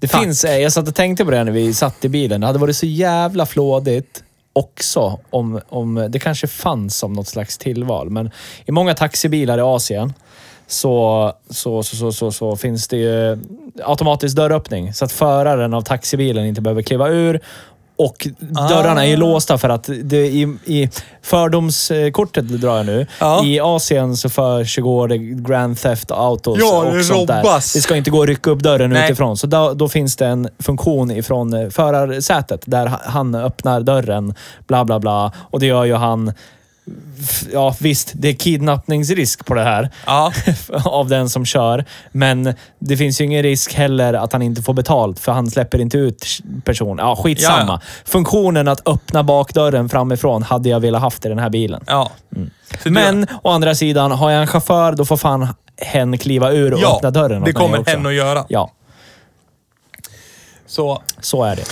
A: Det
B: Tack.
A: finns, eh, jag satt och tänkte på det när vi satt i bilen. Det hade varit så jävla flådigt också om, om det kanske fanns som något slags tillval. Men i många taxibilar i Asien så, så, så, så, så, så finns det ju automatisk dörröppning så att föraren av taxibilen inte behöver kliva ur. Och dörrarna är
B: Ah.
A: ju låsta för att det i, i fördomskortet drar jag nu.
B: Ja.
A: I Asien så försiggår det Grand Theft Autos
B: Ja, det
A: och sånt
B: robbas.
A: där. Det ska inte gå att rycka upp dörren
B: Nej.
A: utifrån. Så då, då finns det en funktion ifrån eh, förarsätet där ha- han öppnar dörren, bla bla bla. Och det gör ju han... f- Ja, visst, det är kidnappningsrisk på det här
B: Ja.
A: av den som kör. Men det finns ju ingen risk heller att han inte får betalt, för han släpper inte ut personen. Ja, skitsamma.
B: Ja,
A: Funktionen att öppna bakdörren framifrån hade jag velat haft i den här bilen.
B: ja.
A: Mm.
B: Så det-
A: Men å andra sidan, har jag en chaufför, då får fan hen kliva ur och
B: ja,
A: öppna dörren åt
B: det
A: mig
B: kommer
A: också.
B: hen att göra.
A: Ja,
B: Så
A: så är det.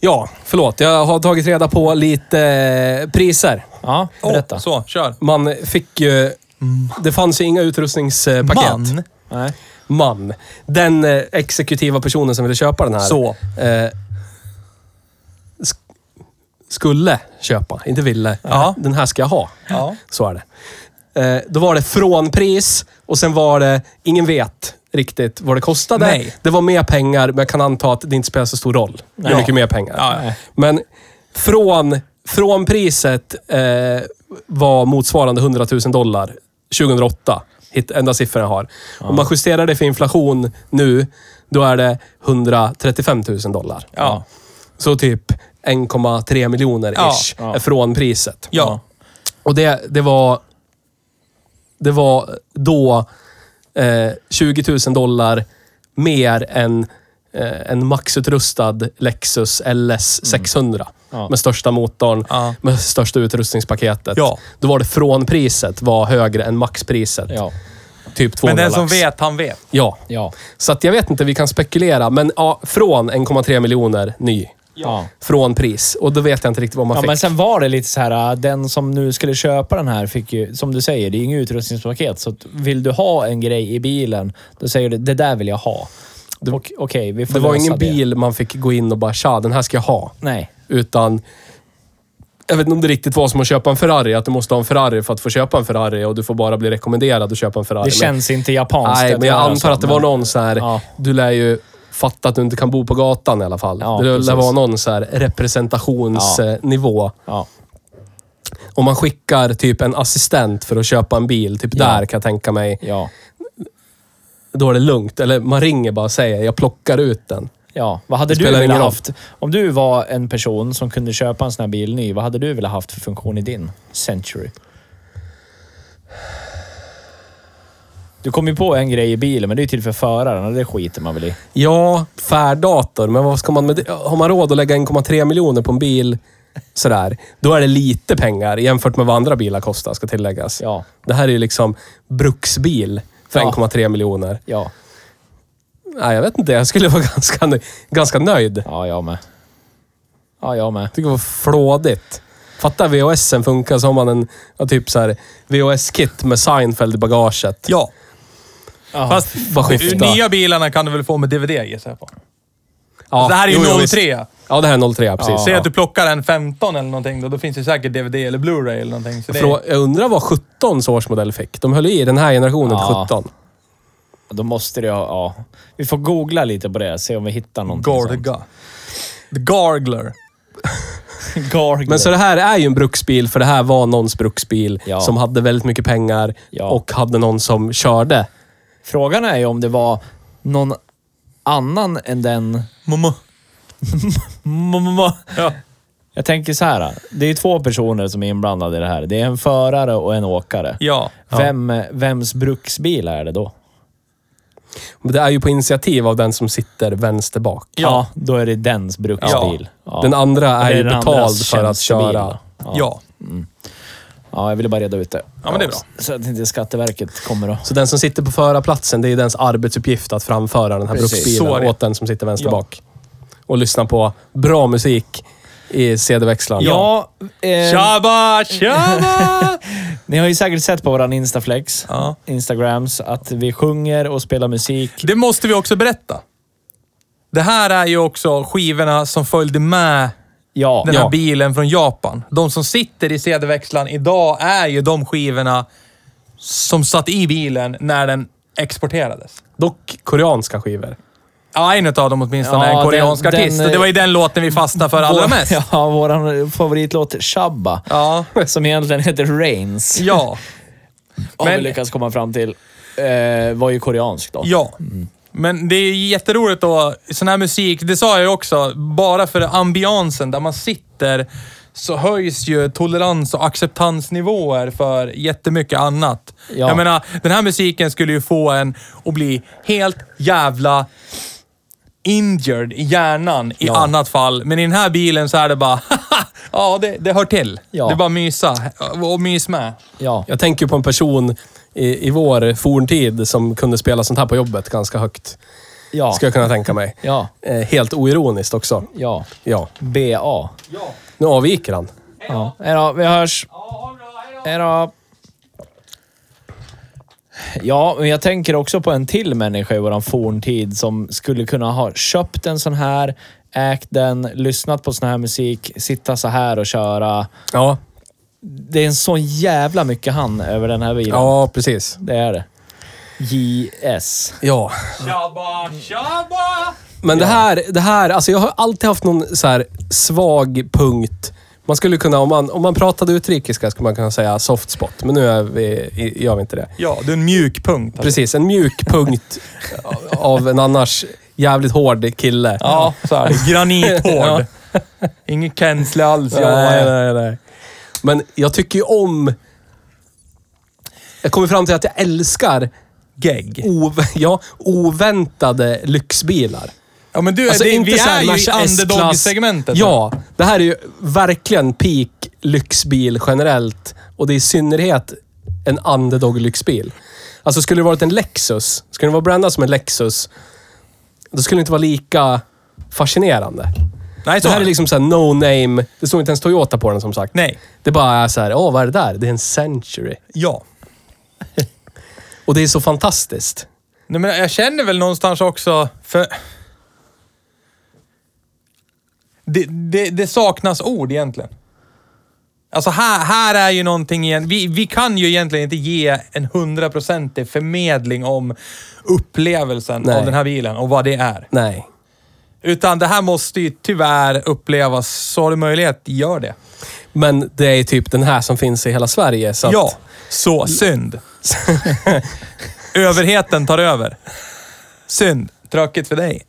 C: ja, förlåt. Jag har tagit reda på lite eh, priser.
A: Ja,
B: Åh,
A: berätta.
B: så, kör.
C: Man fick ju...
A: Mm.
C: Det fanns ju inga utrustningspaket.
B: Man.
A: Nej.
C: Man. Den eh, exekutiva personen som ville köpa den här.
B: Så.
C: Eh, sk- skulle köpa, inte ville.
B: Ja.
C: Den här ska jag ha.
B: Ja.
C: Så är det. Eh, då var det frånpris och sen var det, ingen vet riktigt vad det kostade.
B: Nej.
C: Det var mer pengar, men jag kan anta att det inte spelar så stor roll. Det är
A: Ja.
C: mycket mer pengar.
B: Ja, ja.
C: Men från, från priset eh, var motsvarande 100 000 dollar 2008. Hit, enda siffran jag har. Om man justerar det för inflation nu, då är det 135 000 dollar.
B: Ja.
C: Så typ 1,3 miljoner ish
A: Ja.
C: är från priset.
B: Ja.
C: Och det, det var... Det var då eh, 20 000 dollar mer än eh, en maxutrustad Lexus LS 600.
A: Mm. Ja.
C: Med största motorn,
B: Ja.
C: med största utrustningspaketet.
B: Ja.
C: Då var det frånpriset var högre än maxpriset.
A: Ja.
C: Typ 200
B: Men den
C: lax.
B: som vet, han vet.
C: Ja.
A: Ja.
C: Så att jag vet inte, vi kan spekulera. Men ja, från 1,3 miljoner ny.
A: Ja.
C: Från pris. Och då vet jag inte riktigt vad man
A: Ja,
C: fick.
A: men sen var det lite så här, äh, den som nu skulle köpa den här fick ju, som du säger, det är inget utrustningspaket. Så att vill du ha en grej i bilen, då säger du det där vill jag ha. Och- Okej, vi får
C: Det var
A: lösa
C: ingen
A: det.
C: bil man fick gå in och bara tja, den här ska jag ha.
A: Nej.
C: Utan... Jag vet inte om det riktigt var som att köpa en Ferrari, att du måste ha en Ferrari för att få köpa en Ferrari och du får bara bli rekommenderad att köpa en Ferrari.
A: Det känns inte
C: men,
A: japanskt.
C: Nej, men jag
A: göra
C: antar
A: så,
C: att det var
A: men-
C: någon så här...
A: Ja.
C: Du lär ju fatta att du inte kan bo på gatan i alla fall.
A: Ja,
C: det lär
A: precis.
C: vara någon så här representationsnivå.
A: Ja.
C: Om man skickar typ en assistent för att köpa en bil, typ där kan jag tänka mig,
A: Ja.
C: då är det lugnt. Eller man ringer bara och säger, jag plockar ut den.
A: Ja, vad hade
C: Det
A: du
C: spelar
A: velat
C: ingen roll.
A: haft? Om du var en person som kunde köpa en sån här bil ny, vad hade du velat haft för funktion i din Century? Du kom ju på en grej i bilen, men det är ju till för föraren och det skiter man väl i.
C: Ja, färddator, men vad ska man med det? Har man råd att lägga 1,3 miljoner på en bil sådär, då är det lite pengar jämfört med vad andra bilar kostar, ska tilläggas.
A: Ja.
C: Det här är ju liksom bruksbil för
A: Ja.
C: 1,3 miljoner.
A: Ja,
C: Nej, jag vet inte. Jag skulle vara ganska, nö- ganska nöjd.
A: ja jag med. Ja, jag med.
C: tycker det var flådigt. Fatta VHSen funkar så har man en ja, typ så här VHS-kit med Seinfeld i bagaget.
B: Ja.
A: Ja.
B: Fast
C: vad skifta.
B: nya bilarna kan du väl få med DVD gissar jag på.
C: Ja,
B: det här är ju
C: jo, jo,
B: 03.
C: visst. Ja, det här är 03, ja, precis.
B: Säg att du plockar en 15 eller någonting, då, då finns det säkert DVD eller Blu-ray eller någonting. Så det
C: Frå- jag undrar vad 17 årsmodell fick. De höll i den här generationen
A: Ja.
C: till 17.
A: Då måste det ha... Ja. Vi får googla lite på det, se om vi hittar någonting sånt.
B: Gorga. The Gargler.
A: Gargler.
C: Men så det här är ju en bruksbil, för det här var någons bruksbil
A: Ja.
C: som hade väldigt mycket pengar
A: Ja.
C: och hade någon som körde.
A: Frågan är ju om det var någon annan än den...
B: Mamma.
A: Mamma.
B: Ja.
A: Jag tänker så här. Det är ju två personer som är inblandade i det här. Det är en förare och en åkare.
B: ja.
A: Vem, vems bruksbil är det då?
C: Men det är ju på initiativ av den som sitter vänster bak.
A: Ja, då är det dens bruksbil. Ja.
C: Den andra är,
A: Det
C: ju
A: den andras
C: betald för att
A: tjänstebil,
C: köra.
A: då.
B: Ja.
A: Ja. Ja, jag ville bara reda ut det.
B: Ja, men det är bra.
A: Så att inte Skatteverket kommer och...
C: Så den som sitter på förarplatsen, det är dens arbetsuppgift att framföra den här
A: Precis.
B: Så är
C: bruksbilen
B: det.
C: åt den som sitter vänster
A: Ja.
C: bak. Och lyssna på bra musik i CD-växlaren.
A: Ja, eh,
B: Tjaba, tjaba!
A: ni har ju säkert sett på våran Instaflex,
B: Ja.
A: Instagrams, att vi sjunger och spelar musik.
B: Det måste vi också berätta. Det här är ju också skivorna som följde med
A: Ja,
B: den här
A: ja.
B: bilen från Japan. De som sitter i CD-växlaren idag är ju de skivorna som satt i bilen när den exporterades.
C: Dock koreanska skivor.
B: Ja, en av dem åtminstone
A: Ja,
B: är en koreansk
A: den-
B: artist.
A: den,
B: och det var ju den låten vi fastnade för allra
A: Vår-
B: mest. Ja.
A: Ja, vår favoritlåt Shabba,
B: Ja.
A: som egentligen heter Rains,
B: ja.
A: har
B: men-
A: vi lyckats komma fram till, eh, var ju koreansk då.
B: Men det är ju jätteroligt då. Sån här musik, det sa jag ju också, bara för ambiansen där man sitter så höjs ju tolerans och acceptansnivåer för jättemycket annat.
A: Ja.
B: Jag menar, den här musiken skulle ju få en att bli helt jävla injured i hjärnan i annat fall. Men i den här bilen så är det bara, ja det, det hör till.
A: Ja.
B: Det är bara mysa och mys med.
A: Ja.
C: Jag tänker på en person i, i vår forntid som kunde spela sånt här på jobbet ganska högt.
A: Ja.
C: Skulle jag kunna tänka mig.
A: Ja.
C: Eh, helt oironiskt också.
A: Ja.
C: Ja.
A: BA.
C: Nu avviker han.
A: Ja. Hejdå, vi hörs. Hejdå. Ja, men jag tänker också på en till människa i våran forntid som skulle kunna ha köpt en sån här, ägt den, lyssnat på sån här musik, sitta så här och köra.
C: Ja,
A: Det är en sån jävla mycket han över den här bilen.
C: ja precis.
A: Det är det. JS.
C: Ja.
B: Tjabba, tjabba!
C: Men det här, det här, alltså jag har alltid haft någon så här svag punkt. Man skulle kunna, om man, om man pratade utrikiska skulle man kunna säga soft spot, men nu är vi, i- gör vi inte det.
B: Ja, det är en mjuk punkt. alltså.
C: Precis, en mjuk punkt av en annars jävligt hård kille.
B: Ja, så här. Granithård. Ingen känsla alls. Jag
C: nej, nej, nej. Men jag tycker ju om... Jag kommer fram till att jag älskar
B: gegg.
C: ov, ja, oväntade lyxbilar.
B: Ja, men du, det, vi
C: Alltså, så här
B: är ju i
C: Mercedes
B: underdog-segmentet.
C: Ja, det här är ju verkligen peak lyxbil generellt. Och det är i synnerhet en underdog-lyxbil. Alltså skulle det varit en Lexus, skulle den vara brändad som en Lexus, då skulle det inte vara lika fascinerande.
B: Nej, så
C: Det här är liksom såhär no name. Det står inte ens Toyota på den som sagt.
B: Nej.
C: Det bara är såhär, åh vad är det där? Det är en Century.
B: Ja.
C: Och det är så fantastiskt.
B: Nej, men jag känner väl någonstans också, för... Det, det, det saknas ord egentligen. Alltså här, här är ju någonting igen. Vi, vi kan ju egentligen inte ge en hundraprocentig förmedling om upplevelsen
C: Nej.
B: av den här bilen och vad det är.
C: Nej.
B: Utan det här måste ju tyvärr upplevas. Så har du möjlighet, gör det.
C: Men det är typ den här som finns i hela Sverige. Så att,
B: Ja, så synd. Överheten tar över. Synd. Tråkigt för dig.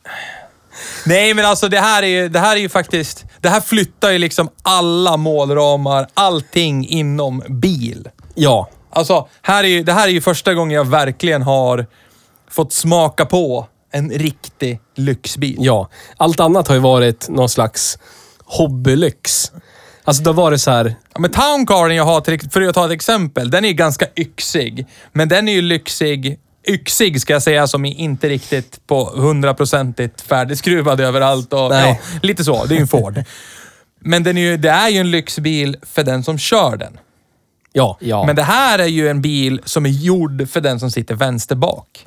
B: Nej, men alltså det här är ju, det här är ju faktiskt... Det här flyttar ju liksom alla målramar, allting inom bil.
C: Ja.
B: Alltså, här är, ju- det här är ju första gången jag verkligen har fått smaka på en riktig lyxbil.
C: Ja, allt annat har ju varit någon slags hobbylyx. Alltså då var det så här,
B: Ja, men Towncaren jag har, till, för att ta ett exempel, den är ju ganska yxig. Men den är ju lyxig, yxig ska jag säga, som är inte riktigt på hundraprocentigt färdigskruvad överallt. Och, ja,
C: Nej.
B: lite så, det är ju en Ford. men den är ju, det är ju en lyxbil för den som kör den.
C: ja.
A: Ja.
B: Men det här är ju en bil som är gjord för den som sitter vänster bak.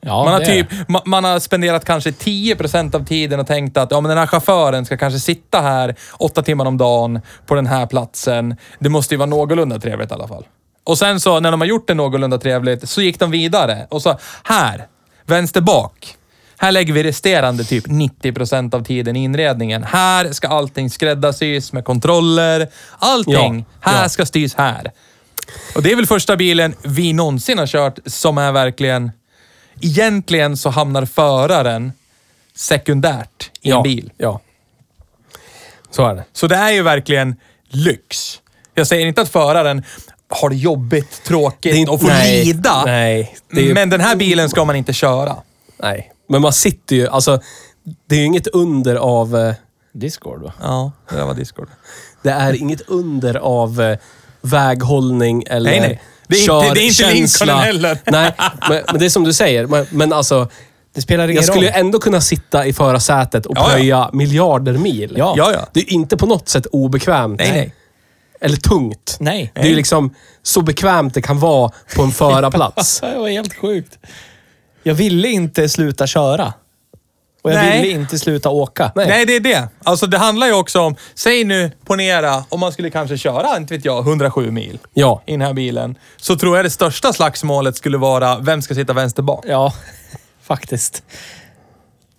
A: ja,
B: Man har,
A: det-
B: typ, ma- man har spenderat kanske 10% av tiden och tänkt att ja, men den här chauffören ska kanske sitta här åtta timmar om dagen på den här platsen. Det måste ju vara någorlunda trevligt i alla fall. Och sen så när de har gjort det någorlunda trevligt så gick de vidare och så här, vänster bak. Här lägger vi resterande typ 90% av tiden i inredningen. Här ska allting skräddarsys med kontroller. Allting.
C: Ja,
B: här
C: ja.
B: ska styrs här. Och det är väl första bilen vi någonsin har kört som är verkligen... Egentligen så hamnar föraren sekundärt i
C: ja.
B: en bil.
C: Ja. Så är det.
B: Så det är ju verkligen lyx. Jag säger inte att föraren har det jobbigt, tråkigt
C: Det är inte-
B: och får
C: nej,
B: lida.
C: nej, det är ju-
B: Men den här bilen ska man inte köra.
C: Nej. Men man sitter ju, alltså det är ju inget under av, eh,
A: Discord va?
B: Ja, det där var Discord.
C: det är inget under av eh, väghållning eller
B: Nej, nej. Det är inte- det är inte
C: körkänsla.
B: Lincoln heller.
C: Nej, men, men det är som du säger. Men, men alltså,
A: Det spelar ingen
C: jag skulle ju
A: roll.
C: ändå kunna sitta i förarsätet och
B: Ja, ja.
C: plöja miljarder mil.
A: Ja.
B: Ja, ja.
C: Det är ju inte på något sätt obekvämt.
B: Nej, nej.
C: Eller tungt.
A: Nej.
C: Det är ju liksom så bekvämt det kan vara på en förarplats.
A: Det var helt sjukt. Jag ville inte sluta köra. Och jag
B: Nej.
A: ville inte sluta åka.
B: Nej. det är det. Alltså det handlar ju också om, säg nu, ponera, om man skulle kanske köra, inte vet jag, 107 mil
C: Ja.
B: i den här bilen. Så tror jag det största slagsmålet skulle vara, vem ska sitta vänster bak?
A: Ja, faktiskt.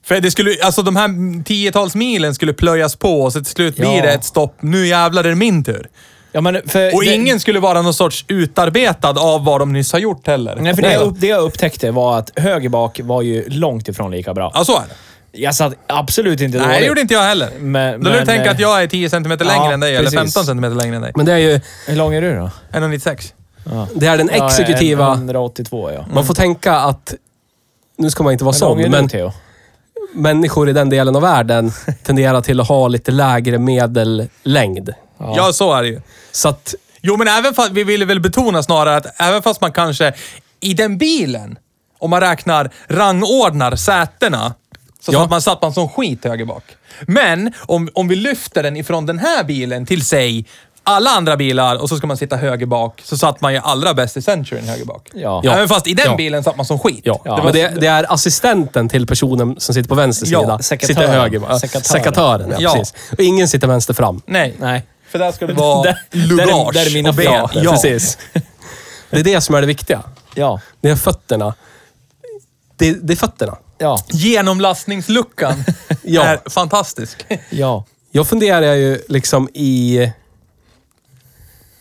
B: För det skulle, alltså de här tiotals milen skulle plöjas på och så till slut blir
A: Ja.
B: det ett stopp. Nu jävlar är det min tur.
A: Ja, men för
B: Och
A: det-
B: ingen skulle vara någon sorts utarbetad av vad de nyss har gjort heller.
A: Nej, för det, jag
B: då.
A: upp, det jag upptäckte var att höger bak var ju långt ifrån lika bra.
B: Ja, så är det.
A: Jag satt absolut inte
B: Nej, det
A: dåligt.
B: gjorde inte jag heller.
A: Men-
B: Då lär du
A: men,
B: tänka
A: eh,
B: att jag är 10 cm längre
A: ja,
B: än dig,
A: precis.
B: eller 15 cm längre än dig.
C: Men det är ju
A: Hur lång är du då?
B: 1,96.
C: det är den
A: Ja,
C: exekutiva...
A: 182 ja.
C: Man får tänka att... Nu ska man inte vara
A: Hur lång
C: sån,
A: är
C: men
A: du Theo?
C: människor i den delen av världen tenderar till att ha lite lägre medellängd.
B: Ja. så är det ju.
C: Så att...
B: Jo, men även fast, vi ville väl betona snarare att även fast man kanske i den bilen, om man räknar, rangordnar sätena. Så
C: Ja.
B: satt, man, satt man som skit höger bak. Men om, om vi lyfter den ifrån den här bilen till, säg, alla andra bilar och så ska man sitta höger bak, så satt man ju allra bäst i Centuryn höger bak.
A: Ja.
B: Även fast i den
C: Ja.
B: bilen satt man som skit.
C: Ja.
A: Ja.
C: Men det, det är assistenten till personen som sitter på vänster
B: Ja,
C: sida.
A: sekatören.
C: Sitter höger. bara.
A: Sekatören.
C: Sekatören, ja,
B: Ja.
C: precis. Och ingen sitter vänster fram.
B: Nej.
A: Nej.
B: För där ska det vara
A: Där- där är-
B: lugage
A: där är mina
B: och ben.
A: föräldrar.
B: Ja.
C: precis. Det är det som är det viktiga.
A: Ja.
C: Det är fötterna. Det, det är fötterna.
A: Ja.
B: Genomlastningsluckan
C: Ja.
B: är fantastisk.
A: Ja.
C: Jag funderar ju liksom i...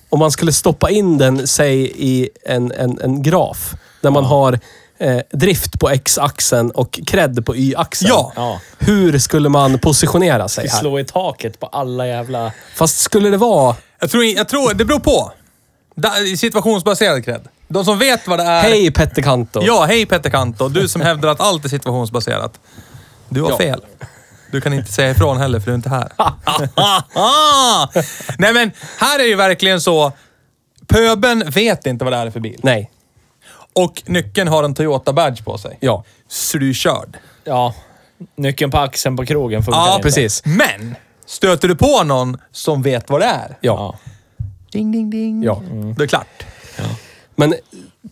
C: Om man skulle stoppa in den, säg i en, en, en graf. Där man har eh, drift på x-axeln och cred på y-axeln.
B: Ja.
A: Ja.
C: Hur skulle man positionera sig här?
A: Slå i taket på alla jävla...
C: Fast skulle det vara...
B: Jag tror, jag tror det beror på. Da- Situationsbaserad cred. De som vet vad det är...
C: Hej Petter Kanto!
B: Ja, hej Petter Kanto. Du som hävdar att allt är situationsbaserat. Du har
C: Ja.
B: fel. Du kan inte säga ifrån heller, för du är inte här. Ah! Nej, men här är ju verkligen så... Pöben vet inte vad det är för bil.
C: Nej.
B: Och nyckeln har en Toyota Badge på sig.
C: Ja.
B: Så du är körd.
A: Ja. Nyckeln på axeln på krogen funkar
B: Ja,
A: inte.
C: precis.
B: Men! Stöter du på någon som vet vad det är,
C: Ja.
B: ding, ding, ding,
C: Ja.
B: då är det klart.
C: Men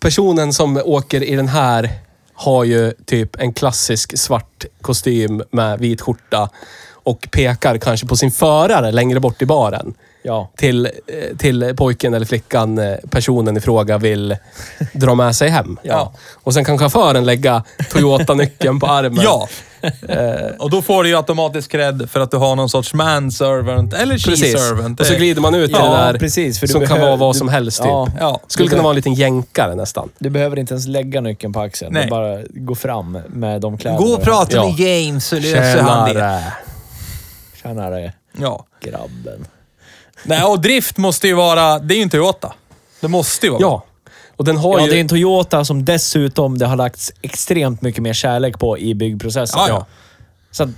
C: personen som åker i den här har ju typ en klassisk svart kostym med vit skjorta och pekar kanske på sin förare längre bort i baren.
A: Ja.
C: Till, eh, till pojken eller flickan eh, personen i fråga vill dra med sig hem.
B: Ja.
C: Och sen kan chauffören lägga Toyota-nyckeln på armen.
B: Ja. Eh, och då får du ju automatiskt cred för att du har någon sorts manservant eller
C: Precis.
B: she-servant.
C: Och så glider man ut i
A: Ja,
C: det där
A: precis, för du
C: som kan
A: behöver-
C: vara vad
A: du-
C: som helst. Typ.
A: Ja.
B: Ja.
C: Skulle
A: Du
C: kunna
A: behöver-
C: vara en liten jänkare nästan.
A: Du behöver inte ens lägga nyckeln på axeln.
B: Nej.
A: Du bara gå fram med de kläderna.
B: Gå
A: du
B: och
A: har.
B: prata
C: Ja.
B: med James så löser han det.
C: Tjenare.
A: Tjänare,
B: Ja.
A: grabben.
B: Nej, och drift måste ju vara... Det är ju en Toyota. Det måste ju vara bra.
C: Ja. Och den har
A: Ja,
C: ju...
A: det är en Toyota som dessutom det har lagts extremt mycket mer kärlek på i byggprocessen.
B: Ja, ja.
A: Så att,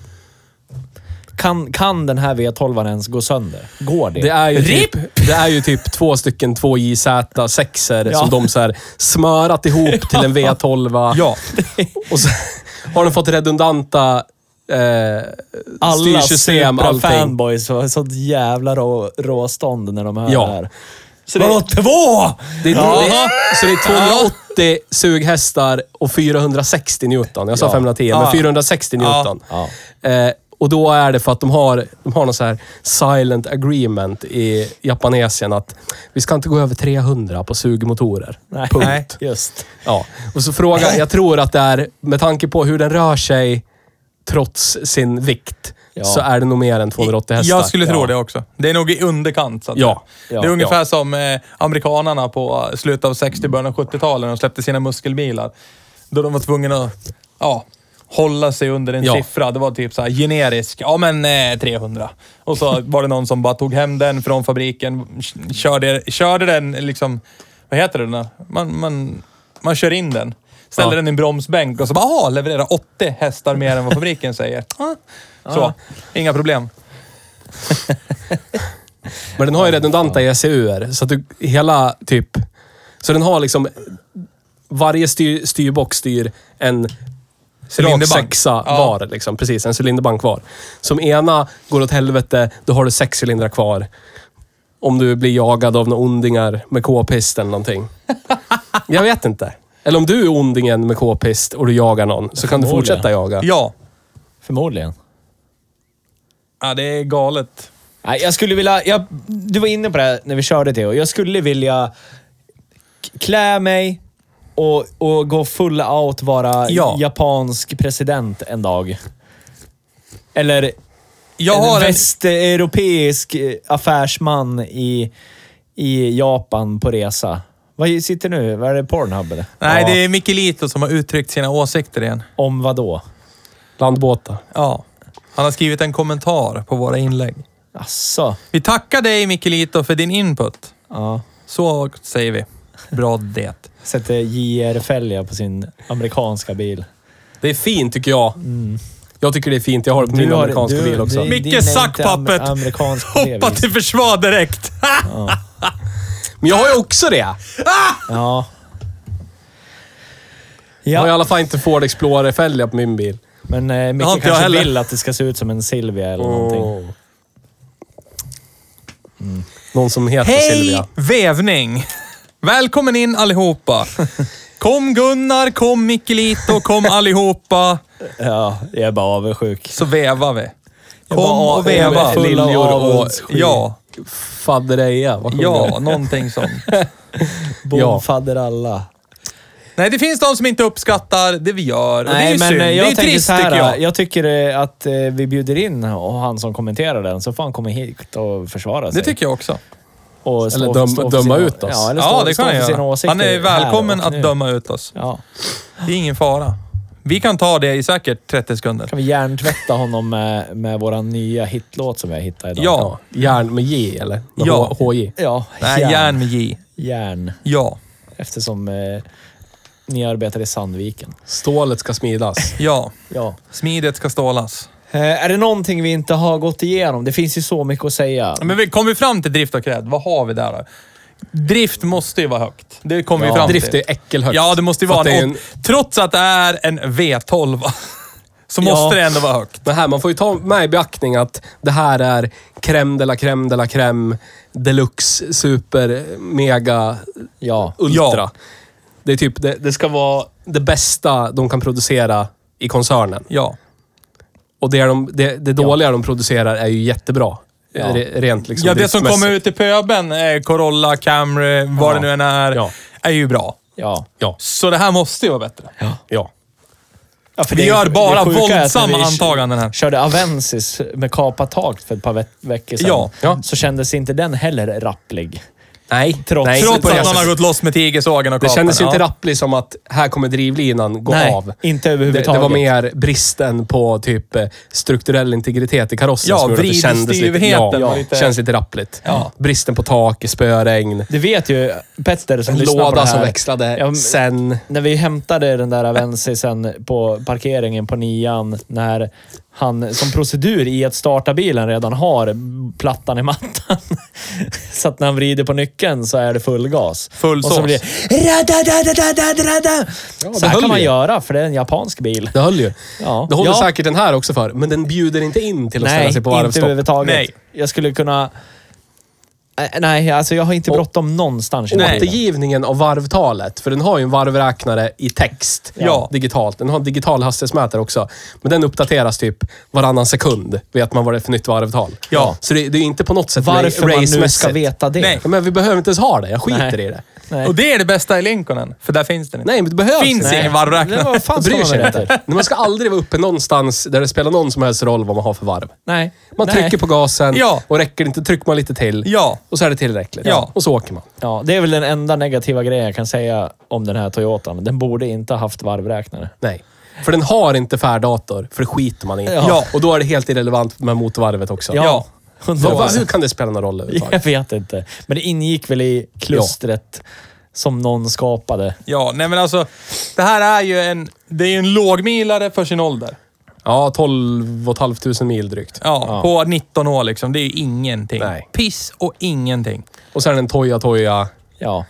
A: kan, kan den här V12 ens gå sönder? Går det?
C: Det är ju, typ,
A: RIP!
C: det är ju typ två stycken 2JZ 6
A: Ja.
C: som de så här smörat ihop till en V12.
B: Ja.
C: Och så har de fått redundanta eh,
A: Alla
C: styrsystem, allting.
A: Supra-fanboys har sånt jävla rå, råstånd när de hör
C: Ja.
A: det här. Så det... Vadå två?
C: Det är,
B: Jaha.
C: så det är 280 sughästar och 460 Newton. Jag sa
A: Ja.
C: 510,
B: Ja.
C: men 460 Newton.
A: Ja.
C: Eh, och då är det för att de har, de har någon så här silent agreement i Japanesien att vi ska inte gå över 300 på sugmotorer.
A: Nej,
C: Punkt.
A: Nej. just.
C: Ja, och så frågan. Jag tror att det är, med tanke på hur den rör sig trots sin vikt,
A: Ja.
C: så är det nog mer än 280 hästar.
B: Jag skulle tro
C: ja.
B: det också. Det är nog i underkant. Så att
C: Ja.
B: Det
A: Ja.
B: är ungefär som eh, amerikanarna på eh, slutet av 60 början av 70-talet när de släppte sina muskelbilar. Då de var tvungna att ja, hålla sig under en
C: Ja.
B: siffra. Det var typ så här generisk. Ja, men eh, 300. Och så var det någon som bara tog hem den från fabriken, k- körde, körde den liksom... Vad heter det? när Man, man, man kör in den. Ställer
C: Ja.
B: den i en bromsbänk och så bara, aha, levererar 80 hästar mer än vad fabriken säger. Ah. Så, inga problem.
C: Men den har ju redundanta ECUer, så att du hela typ... Så den har liksom... Varje styr, styrbox styr en rak
B: Cylinderbank.
C: sexa
B: Ja.
C: var. Liksom, precis, en cylinderbank var. Som ena går åt helvete, då har du sex cylindrar kvar. Om du blir jagad av några ondingar med k-pist eller någonting. Jag vet inte. Eller om du är ondingen med k-pist och du jagar någon, så kan du
A: förmodligen.
C: fortsätta jaga.
B: Ja.
A: Förmodligen.
B: Ja, det är galet.
A: Nej, jag skulle vilja... Jag, du var inne på det här när vi körde Theo. Jag skulle vilja k- klä mig och, och gå full out, vara
B: Ja.
A: japansk president en dag. Eller
B: Jag
A: en
B: har en...
A: västeuropeisk eh, affärsman i, i Japan på resa. Vad sitter nu? Vad är det? Pornhub eller?
B: Nej,
A: Ja,
B: det är Mikkelito som har uttryckt sina åsikter igen.
A: Om vad då?
C: Landbåtar.
B: Ja. Han har skrivit en kommentar på våra inlägg.
A: Asså.
B: Vi tackar dig Mikkelito för din input.
A: Ja.
B: Så säger vi. Bra det.
A: Sätter JR-fälgar på sin amerikanska bil.
C: Det är fint tycker jag. Jag tycker det är fint. Jag har det på
A: Mm. Du
C: min
A: har-
C: amerikanska
A: du-
C: bil också.
A: du-
B: Micke
A: din är inte
B: Sackpappet
A: am- amerikansk på det
B: Hoppa
A: viset.
B: till försvar direkt.
C: Men jag har ju också det.
A: Ja.
C: Jag har i
A: Ja,
C: alla fall inte Ford Explorer-fälgar på min bil.
A: men eh, Micke
B: har inte jag
A: kanske
B: heller.
A: vill att det ska se ut som en Silvia eller någonting.
C: Någon som heter
B: Hej
C: Silvia.
B: vävning! Välkommen in allihopa. Kom Gunnar, kom Mikkelito, kom allihopa.
A: Ja, jag är bara avundsjuk.
B: Så vävar vi.
A: Jag
B: Kom
A: bara-
B: och
A: jag är
B: väva.
A: full av
C: Liljor och-
A: avundsjuk.
B: Ja,
C: Faddereja. Vad sjunger
B: ja,
C: de?
B: någonting sånt.
A: Bonfadder alla.
B: Nej, det finns de som inte uppskattar det vi gör. och det är ju
A: Nej, men
B: synd.
A: eh, jag
B: det är
A: tänker
B: trist
A: så här,
B: tycker jag.
A: Jag tycker eh, att eh, vi bjuder in och han som kommenterar den, så får han komma hit och försvara sig.
B: Det tycker jag också.
A: och stå,
C: Eller döm-
A: stå för
C: döma
A: sina,
C: ut oss.
A: Ja, eller stå,
B: Ja, det
A: stå
B: kan
A: för
B: jag
A: sina
B: göra.
A: åsikter
B: Han är välkommen
A: här och
B: att
A: nu.
B: döma ut oss.
A: Ja.
B: Det är ingen fara. Vi kan ta det i säkert 30 sekunder.
A: Kan vi hjärntvätta honom med, med vår nya hitlåt som vi har hittat idag?
B: Ja.
C: Ja. Järn med J eller? Med
B: Ja.
C: ja. HJ.
A: Ja,
B: Nej,
A: järn.
B: järn med J.
A: järn.
B: Ja.
A: Eftersom eh, ni arbetar i Sandviken.
C: Stålet ska smidas.
B: Ja.
A: Ja.
B: Smidet ska stålas.
A: Eh, är det någonting vi inte har gått igenom? Det finns ju så mycket att säga.
B: Men vi kom vi fram till drift och cred. Vad har vi där då? Drift måste ju vara högt. Det kom vi
A: Ja.
B: fram till.
C: Drift är äckelhögt.
B: Ja, det måste ju
C: För att
B: vara
C: det är
B: en, Trots att det är en V12 så måste det ändå vara högt.
C: Men här, man får ju ta med i beaktning att det här är crème de la crème de la crème, deluxe, super, mega,
A: Ja.
C: ultra.
B: Ja.
C: Det är typ, det, det ska vara det bästa de kan producera i koncernen.
B: Ja.
C: Och det, är de, det, det dåliga de producerar är ju jättebra.
A: Ja.
C: Re- Rent liksom
B: ja, det som
C: driftmässigt.
B: kommer ut i pöben, eh, Corolla, Camry, vad
C: Ja.
B: det nu än är,
C: Ja.
B: är ju bra.
A: Ja.
C: Ja.
B: Så det här måste ju vara bättre.
C: ja.
A: Ja, för
B: Vi
A: det-
B: gör
A: det
B: bara
A: sjuka är att när
B: våldsamma
A: vi
B: antaganden här.
A: körde Avensis med kapat tak för ett par ve- veckor sedan,
B: Ja.
C: Ja.
A: så kändes inte den heller rapplig.
C: Nej.
A: Trots-
C: nej,
B: Trots
C: inte på det
B: att någon har
C: sättet.
B: gått loss med tigersågen och
C: Det
B: kapen.
C: kändes ju inte
B: ja.
C: rappligt som att här kommer drivlinan gå
A: Nej,
C: av.
A: inte
C: Det, det
A: överhuvudtaget.
C: var mer bristen på typ eh, strukturell integritet i karossen
B: Ja,
C: som gjorde att det
B: vrid-
C: kändes lite,
B: styvheten
C: ja,
B: var
C: ja,
B: lite-
C: känns lite rappligt.
B: Ja.
C: Bristen på tak, spöregn,
A: Det vet ju Petter som
C: en
A: lyssnar på det
C: låda som
A: här.
C: växlade
A: Ja, men-
C: sen.
A: När vi hämtade den där Avensisen på parkeringen på nian, när han som procedur i att starta bilen redan har plattan i mattan. Så att när han vrider på nyckeln så är det full gas.
B: Full
A: Och så
B: sås.
A: blir det... radadadadadadada.
C: Ja,
A: så
C: det
A: här
C: höll
A: kan man
C: ju.
A: göra, för det är en japansk bil.
C: Det höll ju.
A: Ja.
C: Det håller
A: ja.
C: säkert den här också för, men den bjuder inte in till att ställa
A: Nej,
C: sig på
A: inte
C: varvstopp.
A: överhuvudtaget.
B: Nej.
A: Jag skulle kunna... Eh, Nej, alltså jag har inte
C: Och-
A: bråttom någonstans. i den här bilen.
C: Återgivningen av varvtalet, för den har ju en varvräknare i text
B: Ja.
C: digitalt. Den har en digital hastighetsmätare också. Men den uppdateras typ varannan sekund. Vet man vad det är för nytt varvtal.
B: Ja.
C: Så det, det är inte på något sätt
A: Varför man nu ska
C: racemässigt.
A: veta det.
B: Nej.
C: Ja, men vi behöver inte ens ha det. Jag skiter
A: Nej.
C: i det.
A: Nej.
B: Och det är det bästa i Lincolnen, för där finns den inte.
C: Nej, men det behövs
B: Finns
C: inte.
B: ingen
A: Men
B: varvräknare.
A: vad fan
C: Man
A: ska
C: bryr
A: man
C: sig
A: med det
C: inte.
A: till?
C: Men Man ska aldrig vara uppe någonstans där det spelar någon som helst roll vad man har för varv.
A: Nej.
C: Man
A: Nej.
C: trycker på gasen
B: Ja.
C: och räcker det inte trycker man lite till.
B: Ja.
C: Och så är det tillräckligt.
B: Ja.
C: Och så åker man.
A: Ja, det är väl den enda negativa grejen jag kan säga om den här Toyotan. Den borde inte ha haft varvräknare.
C: Nej. För den har inte färddator, för det skiter man i.
A: Ja.
C: Och då är det helt irrelevant med motorvarvet också.
B: Ja.
A: Undrar
C: Vad- vad-
A: vad-
C: hur kan det spela någon roll
A: Jag
C: överhuvudtaget?
A: vet inte. Men det ingick väl i klustret som någon skapade.
B: Ja, nej men alltså. Det här är ju en, det är ju en lågmilare för sin ålder.
C: Ja, 12 500 mil drygt.
B: Ja, på 19 år liksom. Det är ju ingenting.
C: Nej.
B: Piss och ingenting.
C: Och sen en Toya Toya
A: Ja.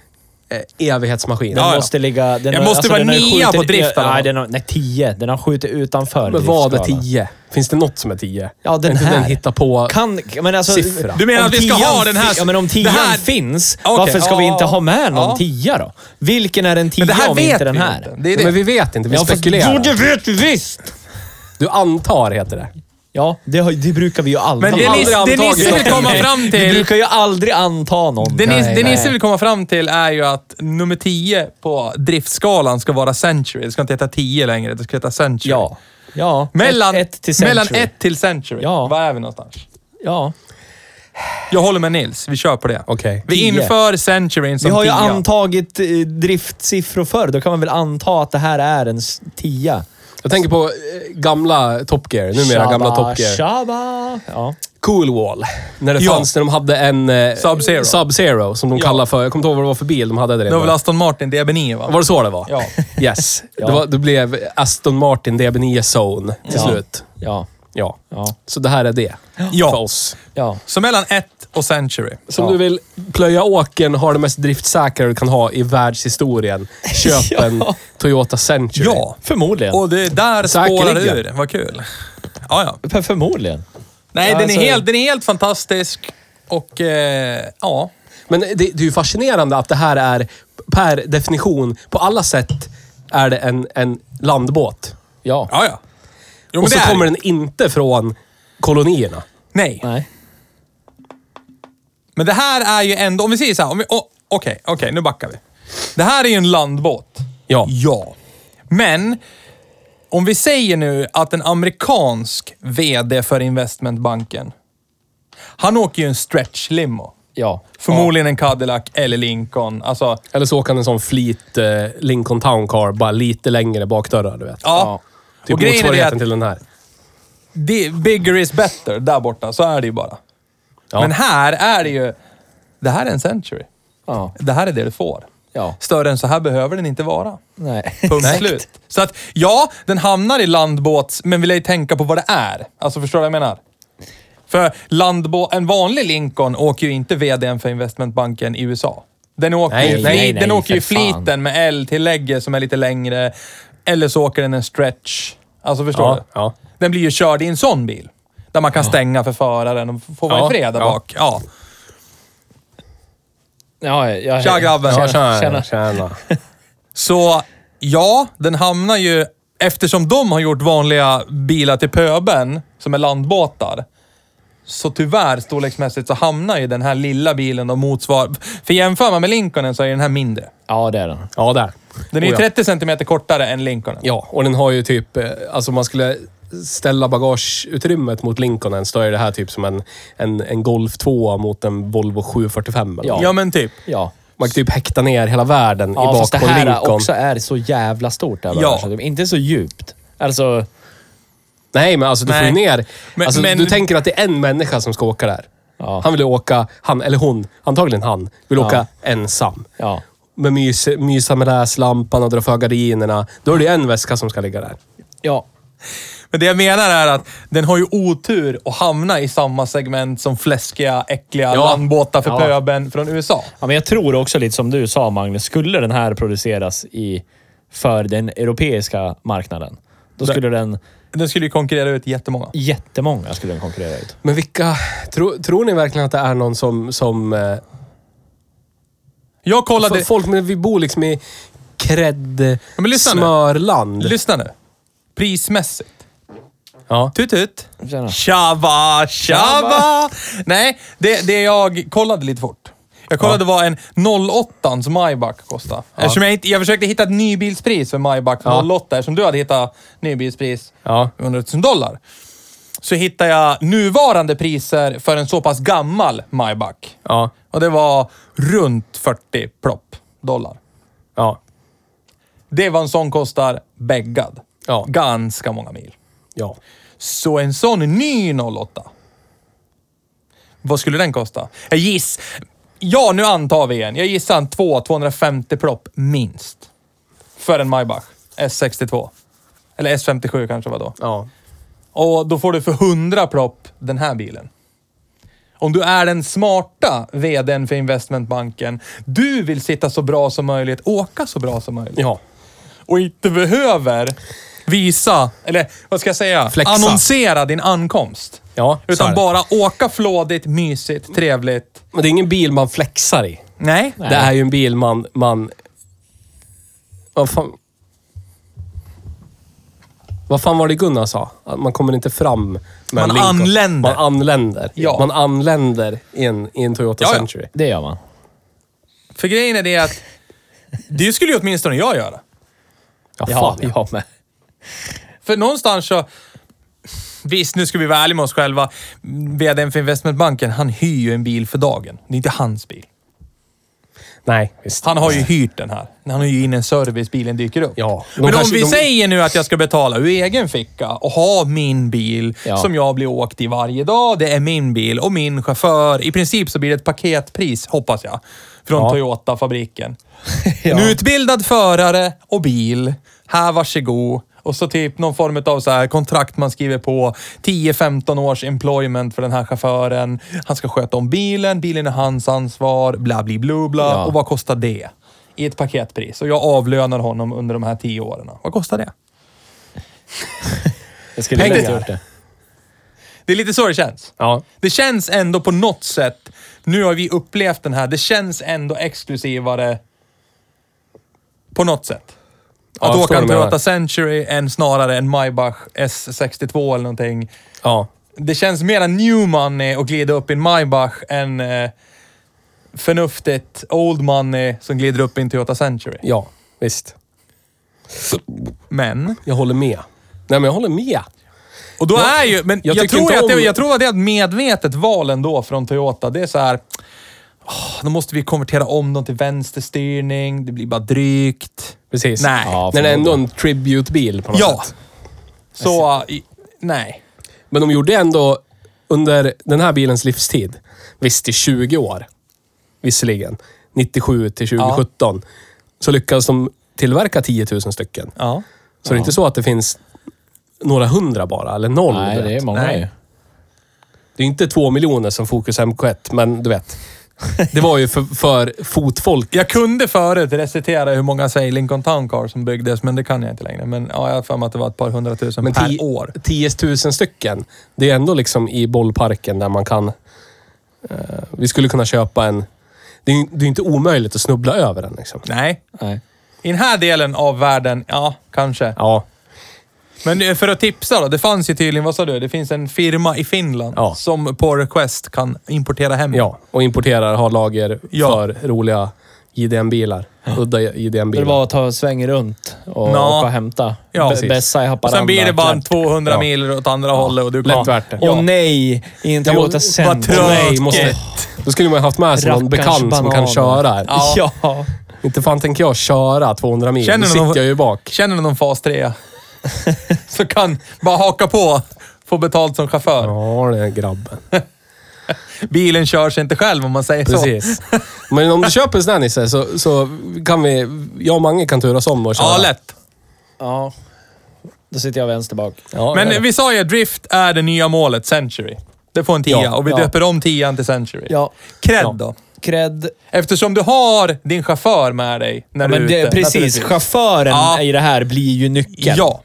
C: eh, evighetsmaskin.
B: Ja, ja.
A: Måste ligga... Den alltså,
B: Jag måste vara
A: den har ju
B: nia
A: skjutit-
B: på drift, eller?
A: Nej, den har, nej, tio. Den har skjutit utanför
C: Men vad är
A: driftskalan.
C: 10? Finns det något som är 10?
A: Ja, den
C: är inte
A: här.
C: den hitta på...
A: Kan, men alltså,
C: Siffra.
B: Du menar
A: om
B: att vi ska
A: tian
B: ha den här-
A: fi- Ja, men om tian
B: det här-
A: finns,
B: Okej,
A: varför ska vi
B: ja,
A: inte ha med någon
B: ja.
A: tia då? Vilken är en tia
B: Men det här
A: om
B: vet
A: inte den
B: vi
A: här?
B: inte. Det är det.
C: Men vi vet inte, vi
A: Ja, fast-
C: spekulerar.
A: Jo, det vet vi visst!
C: Du antar, heter det.
A: Ja, det, har, det brukar vi ju aldrig...
B: Men det,
C: har
B: Nis-
C: aldrig
B: det
C: antagit
B: Nisse vill
C: någonting.
B: komma fram
A: Vi
B: till...
A: brukar ju aldrig anta någon.
B: Det, Nis-
C: Nej,
B: det
C: nej.
B: Nisse vill komma fram till är ju att nummer 10 på driftskalan ska vara Century. Det ska inte heta 10 längre, det ska heta Century.
A: Ja. ja.
B: Mellan
A: ett, ett till century.
B: mellan ett till Century.
A: Ja.
B: Vad är vi någonstans?
A: Ja.
B: Jag håller med Nils. Vi kör på det.
C: Okej.
B: Vi
A: 10.
B: inför Centuryn som
A: Vi har ju
B: 10.
A: antagit eh, driftsiffror förr. Då kan man väl anta att det här är en s- tia.
C: Jag tänker på eh, gamla Top Gear, numera gamla Top Gear.
A: Shabba. Ja.
C: Cool Wall. När det
B: Ja.
C: fanns, när de hade en... Eh,
B: Sub-Zero.
C: Sub-Zero, som de
B: Ja.
C: kallade för... Jag kommer inte ihåg vad det var för bil de hade där
B: Det var väl
C: inne.
B: Aston Martin DB9 va?
C: Var det så det var?
B: Ja.
C: Yes.
A: Ja.
C: Det, var, det blev Aston Martin DB9 Zone till
A: Ja.
C: slut.
A: Ja.
C: Ja.
A: Ja.
C: Så det här är det.
B: Ja.
C: För oss.
A: Ja.
B: Så mellan 1 och Century.
C: Som
A: Ja.
C: du vill plöja åken, ha det mest driftsäkra du kan ha i världshistorien. Köp
A: Ja.
C: en Toyota Century.
B: Ja.
A: Förmodligen.
B: Och det är där spårar det
C: Säkerligen.
B: ur. Vad kul. Ja, ja.
A: För- Förmodligen.
B: Nej,
A: Ja,
B: den, är
A: alltså-
B: helt, den är helt fantastisk. Och eh, ja,
C: Men det, det är ju fascinerande att det här är per definition, på alla sätt, är det en, en landbåt.
A: Ja.
B: ja, ja. Jo, men
C: Och så
B: det är
C: kommer
B: det.
C: den inte från kolonierna.
B: Nej.
A: Nej.
B: Men det här är ju ändå, om vi säger så här, om vi- åh, okej, okej, nu backar vi. Det här är ju en landbåt.
C: Ja.
B: Ja. Men, om vi säger nu att en amerikansk VD för investmentbanken, han åker ju en stretch limo.
A: Ja.
B: Förmodligen en Cadillac eller Lincoln. Alltså,
C: Eller så åker han en sån flit eh, Lincoln Town Car, bara lite längre bakdörrar, du vet.
B: ja.
C: Typ
B: och grejen är det
C: motsvarigheten
B: att
C: till den här.
B: det, bigger is better där borta. Så är det ju bara.
C: Ja.
B: Men här är det ju... Det här är en century.
A: Ja.
B: Det här är det du får.
A: Ja.
B: Större än så här behöver den inte vara.
A: Nej.
B: Punkt
A: Nej.
B: slut. Så att ja, den hamnar i landbåts, men vill jag tänka på vad det är. Alltså förstår du vad jag menar? För landbå en vanlig Lincoln åker ju inte vdn för investmentbanken i USA. Den åker
C: Nej,
B: ju, fli-
C: nej,
A: nej,
B: den åker ju
A: för fan.
B: fliten med L-tillägget som är lite längre. Eller så åker den en stretch. Alltså förstår
C: Ja,
B: du?
C: ja.
B: Den blir ju körd i en sån bil. Där man kan stänga för föraren och få vara
C: Ja,
B: i fred där
C: ja.
B: bak. Ja.
A: Ja, jag,
B: Tja grabben!
C: Ja, tjena.
A: tjena.
C: tjena.
B: Så ja, den hamnar ju... Eftersom de har gjort vanliga bilar till pöben, som är landbåtar, så tyvärr storleksmässigt så hamnar ju den här lilla bilen och motsvar... För jämför man med Lincolnen så är den här mindre.
A: Ja, det är den.
C: Ja, där.
B: Den är ju
C: Oh, ja.
B: 30 centimeter kortare än Lincolnen.
C: ja, och den har ju typ... eh, Alltså man skulle ställa bagageutrymmet mot Lincolnens, då är det här typ som en, en, en Golf 2 mot en Volvo 745. Eller?
A: Ja.
C: något.
B: Ja, men typ.
A: Ja.
C: Man kan typ häkta ner hela världen i
A: Ja,
C: bak
A: fast det
C: på
A: här
C: Lincoln.
A: också är så jävla stort. Där
B: Ja.
A: ja. det inte så djupt. Alltså,
C: Nej, men alltså du får ju
B: Nej.
C: ner...
B: Men-
C: alltså,
B: men-
C: du tänker att det är en människa som ska åka där.
A: Ja.
C: Han vill åka, han eller hon, antagligen han, vill
A: Ja.
C: åka ensam.
A: ja.
C: Med mys, mysa med läslampan och dra för gardinerna. Då är det en väska som ska ligga där.
A: Ja.
B: Men det jag menar är att den har ju otur att hamna i samma segment som fläskiga, äckliga
C: Ja.
B: landbåtar för
A: Ja.
B: pöben från USA.
A: ja, men jag tror också lite som du sa Magnus, skulle den här produceras i, för den europeiska marknaden, då skulle den,
B: Den skulle ju konkurrera ut jättemånga.
A: jättemånga skulle den konkurrera ut.
C: Men vilka... Tro, tror ni verkligen att det är någon som... som eh,
B: Jag kollade...
C: f- folk, men vi bor liksom i cred
B: men lyssna nu.
C: smörland.
B: Lyssna nu. Prismässigt.
C: Ja.
B: Tut tut.
A: Tjena.
B: Tjaba, tjaba. Nej, det, det jag kollade lite fort. Jag kollade vad en 08 som Maybach kostade. Eftersom jag, inte, jag försökte hitta ett nybilspris för Maybach 08, eftersom du hade hittat nybilspris.
C: Ja.
B: 100 000 dollar. Så hittade jag nuvarande priser för en så pass gammal Maybach.
C: Ja.
B: Och det var runt 40 plopp dollar.
C: Ja.
B: Det var en sån kostar bäggad.
C: Ja.
B: Ganska många mil.
C: Ja.
B: Så en sån ny 08. Vad skulle den kosta? Jag giss... Ja, nu antar vi igen. Jag gissar en 2 250 plopp minst. För en Maybach S62. Eller S57 kanske var då.
C: Ja.
B: Och då får du för 100 plopp den här bilen. Om du är den smarta vdn för investmentbanken, du vill sitta så bra som möjligt, åka så bra som möjligt
C: ja.
B: och inte behöver visa, eller vad ska jag säga,
C: Flexa.
B: annonsera din ankomst.
C: Ja, så är
B: Utan
C: det.
B: bara åka flådigt, mysigt, trevligt.
C: Men det är ingen bil man flexar i.
B: Nej.
C: Det är ju en bil man... man vad fan... Vad fan var det Gunnar sa? Att man kommer inte fram med
B: Man
C: en Lincoln.
B: anländer.
C: Man anländer.
B: Ja.
C: Man anländer i en, i en Toyota
B: Ja, ja.
C: Century.
A: Det gör man.
B: För grejen är det att, det skulle ju åtminstone jag göra.
C: Ja,
A: Ja,
C: fan. Ja.
A: jag med.
B: För någonstans så... Visst, nu ska vi vara ärliga med oss själva. VDn för investmentbanken, han hyr ju en bil för dagen. Det är inte hans bil.
C: Nej, visst.
B: Han har ju hyrt den här. Han har ju in en servicebilen dyker upp.
C: Ja. De
B: Men om
C: kanske-
B: vi
C: de-
B: säger nu att jag ska betala ur egen ficka och ha min bil
A: Ja.
B: som jag blir åkt i varje dag. Det är min bil och min chaufför. I princip så blir det ett paketpris, hoppas jag, från
C: Ja.
B: Toyota-fabriken. En
A: Ja.
B: utbildad förare och bil. Här, varsågod. Och så typ någon form av så här kontrakt man skriver på. 10-15 års employment för den här chauffören. Han ska sköta om bilen, bilen är hans ansvar, bla bli blu bla.
A: Ja.
B: Och vad kostar det? I ett paketpris. Och jag avlönar honom under de här 10 åren. Vad kostar det?
A: Jag skulle
B: Tänkte
A: inte
B: jag.
A: gjort det.
B: Det är lite så det känns.
C: Ja.
B: Det känns ändå på något sätt, nu har vi upplevt den här, det känns ändå exklusivare på något sätt.
C: Ja,
B: Att
C: jag
B: åka
C: förstår
B: en
C: vad du
B: Toyota
C: menar.
B: Century än snarare en Maybach S62 eller någonting.
C: Ja.
B: Det känns mera new money att glida upp i en Maybach än eh, förnuftigt old money som glider upp i en Toyota Century.
C: ja, visst.
B: Men...
C: Jag håller med. Nej, men jag håller med.
B: Och då
C: Jag-
B: är ju, men
C: jag
B: jag,
C: tycker
B: tror
C: inte
B: att det,
C: om-
B: jag tror att det är ett medvetet val ändå från Toyota. Det är så här, "Åh, då måste vi konvertera om dem till vänsterstyrning, det blir bara drygt.
C: Precis.
B: Nej.
A: Ja,
C: Men det är ändå
A: förmodligen.
C: en tribute-bil på något
B: Ja.
C: sätt.
B: Så, äh, i- nej.
C: Men de gjorde ändå under den här bilens livstid, visst i 20 år, visserligen, 97 till 2017, så lyckades de tillverka 10 000 stycken.
B: Ja.
C: Så det är inte så att det finns några hundra bara, eller noll.
A: Nej,
C: du
A: det är
C: vet.
A: många
B: Nej.
A: ju.
C: det är inte två miljoner som Fokus MK1, men du vet. Det var ju för, för fotfolk.
B: Jag kunde förut recitera hur många, säg Lincoln Town Car som byggdes, men det kan jag inte längre. Men ja, jag har för mig att det var ett par hundratusen
C: Men
B: per
C: ti-
B: år.
C: 10 000 stycken, det är ändå liksom i bollparken där man kan... eh, vi skulle kunna köpa en... Det är ju det är ju inte omöjligt att snubbla över den liksom.
B: Nej.
A: Nej.
B: I den här delen av världen, ja, kanske.
C: Ja,
B: Men eh, för att tipsa då, det fanns ju tydligen, vad sa du, det finns en firma i Finland
C: Ja.
B: som på request kan importera hem.
C: ja. Och importerar, har lager
B: Mm. Ja.
C: för roliga JDM-bilar. Udda
A: Det är
C: JDM-bilar.
A: bara att ta svängen runt och
B: Ja.
A: åka och hämta.
B: Ja,
A: Ja,
B: precis.
A: Bessa i Haparanda.
B: Sen blir det bara
A: klart.
B: 200
A: Ja.
B: mil åt andra hållet och du
C: lätt
B: kommer...
C: värt det.
A: Åh nej! I en
C: Jag må-
A: Toyota
B: Vad
A: Centro.
C: Åh, nej, måste,
B: tråkigt.
C: då skulle man ju haft med sig någon
A: Rackarns
C: bekant som kan
A: bananer.
C: köra. här.
A: Ja. ja.
C: Inte fan tänker jag köra 200 mil.
B: Känner
C: Då
B: du
C: sitter
B: någon-
C: jag ju bak.
B: Känner du någon fas 3 så kan bara haka på. Få betalt som chaufför.
C: Ja, den här grabben.
B: Bilen kör sig inte själv om man säger så.
C: Precis. Men om du köper en sån här Nisse, så, så kan vi... Jag och Mange kan turas om och köra.
B: Ja, lätt.
A: ja. Då sitter jag vänster bak.
C: Ja,
B: Men
C: ja.
B: vi sa ju att drift är det nya målet, Century. Det får en tia
C: Ja,
B: och vi
A: ja.
B: döper om tian till Century.
A: Ja.
B: Cred
C: Ja.
B: då?
A: Cred. Eftersom
B: Eftersom du har din chaufför med dig när du
A: men
B: är
A: det,
B: ute.
A: precis,
B: naturligtvis.
A: chauffören
B: Ja.
A: i det här blir ju nyckeln.
B: Ja.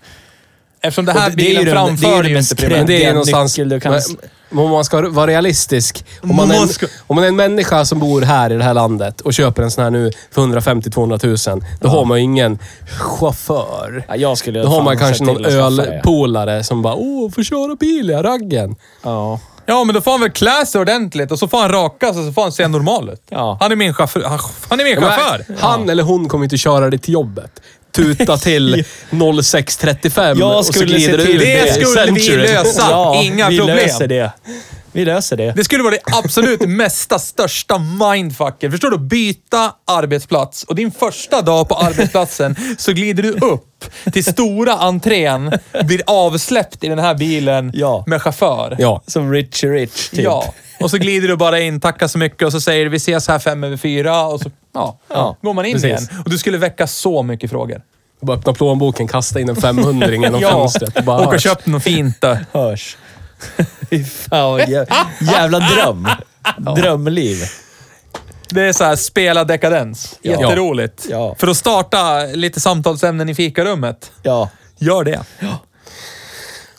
B: Eftersom det
A: Och
B: här
A: det- det är ju
B: bilen
A: den- det är ju
B: framför
A: den
B: dig ju
A: mest
B: inte
A: cred-
B: primärt.
C: Men det är ju
A: den
C: någonstans...
A: nyckel du kan-
C: Men, men om man ska vara realistisk. Om man, är en,
B: Man ska-
C: om man är en människa som bor här i det här landet och köper en sån här nu för 150-200 000. Då har man ju ingen chaufför.
A: Ja, jag skulle
C: Då har
A: fan
C: man kanske
A: sett till
C: någon
A: att skaffa det.
C: ölpolare som bara “Åh, får köra bil, jag raggen”.
A: Ja.
B: Ja, men då får han väl klä sig ordentligt och så får han raka sig och så får han se normal ut.
A: Ja.
B: Han är min chaufför. Han, han är min chaufför.
C: Men Han eller hon kommer inte köra dig till jobbet. Tuta till 06.35
A: Jag
C: och så
A: skulle
C: glider
A: se
C: du
A: till-
C: ut
B: det
C: i
B: skulle vi
C: Century.
B: lösa. Så, inga
A: vi
B: problem.
A: löser det. Vi löser det.
B: Det skulle vara det absolut mesta, största mindfucken. Förstår du? Byta arbetsplats och din första dag på arbetsplatsen så glider du upp till stora entrén, blir avsläppt i den här bilen
A: Ja.
B: med chaufför.
C: Ja.
A: Som Richie Rich, typ.
B: Ja, och så glider du bara in, tackar så mycket och så säger du vi ses här fem över fyra och så ja,
A: Ja,
B: går man in
C: precis.
B: igen. Och du skulle väcka så mycket frågor.
C: Bara öppna plånboken, kasta in en 500 genom fönstret och bara
B: och
C: hörs.
B: köp något fint då.
A: Hörs. Fy fan, vad jä jävla dröm. Drömliv.
B: Det är så här spela dekadens.
A: Ja.
B: Jätteroligt.
A: Ja.
B: För att starta lite samtalsämnen i fikarummet.
A: Ja.
B: Gör det.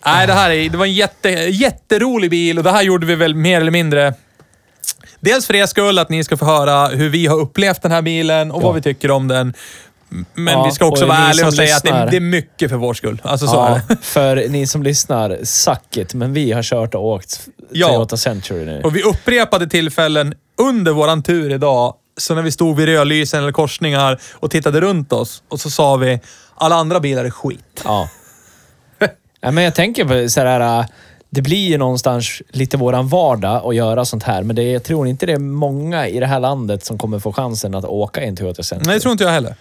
B: Nej, det här är, det var en jätte, jätterolig bil och det här gjorde vi väl mer eller mindre. Dels för er skull, att ni ska få höra hur vi har upplevt den här bilen och vad vi tycker om den. M- Men
A: Ja,
B: vi ska också
A: och
B: vara
A: ni
B: ärliga och
A: som
B: säga att det,
A: lyssnar.
B: det är mycket för vår skull. Alltså så är
A: ja.
B: det.
A: För ni som lyssnar, suck it, men vi har kört och åkt
B: Ja.
A: Toyota Century nu.
B: Och vid upprepade tillfällen under våran tur idag, så när vi stod vid rödlysen eller korsningar och tittade runt oss och så sa vi alla andra bilar är skit.
A: Ja. ja. Men jag tänker på så här, äh, det blir ju någonstans lite våran vardag att göra sånt här, men det, jag tror inte det är många i det här landet som kommer få chansen att åka i en Toyota Century.
B: Nej, det tror inte jag heller.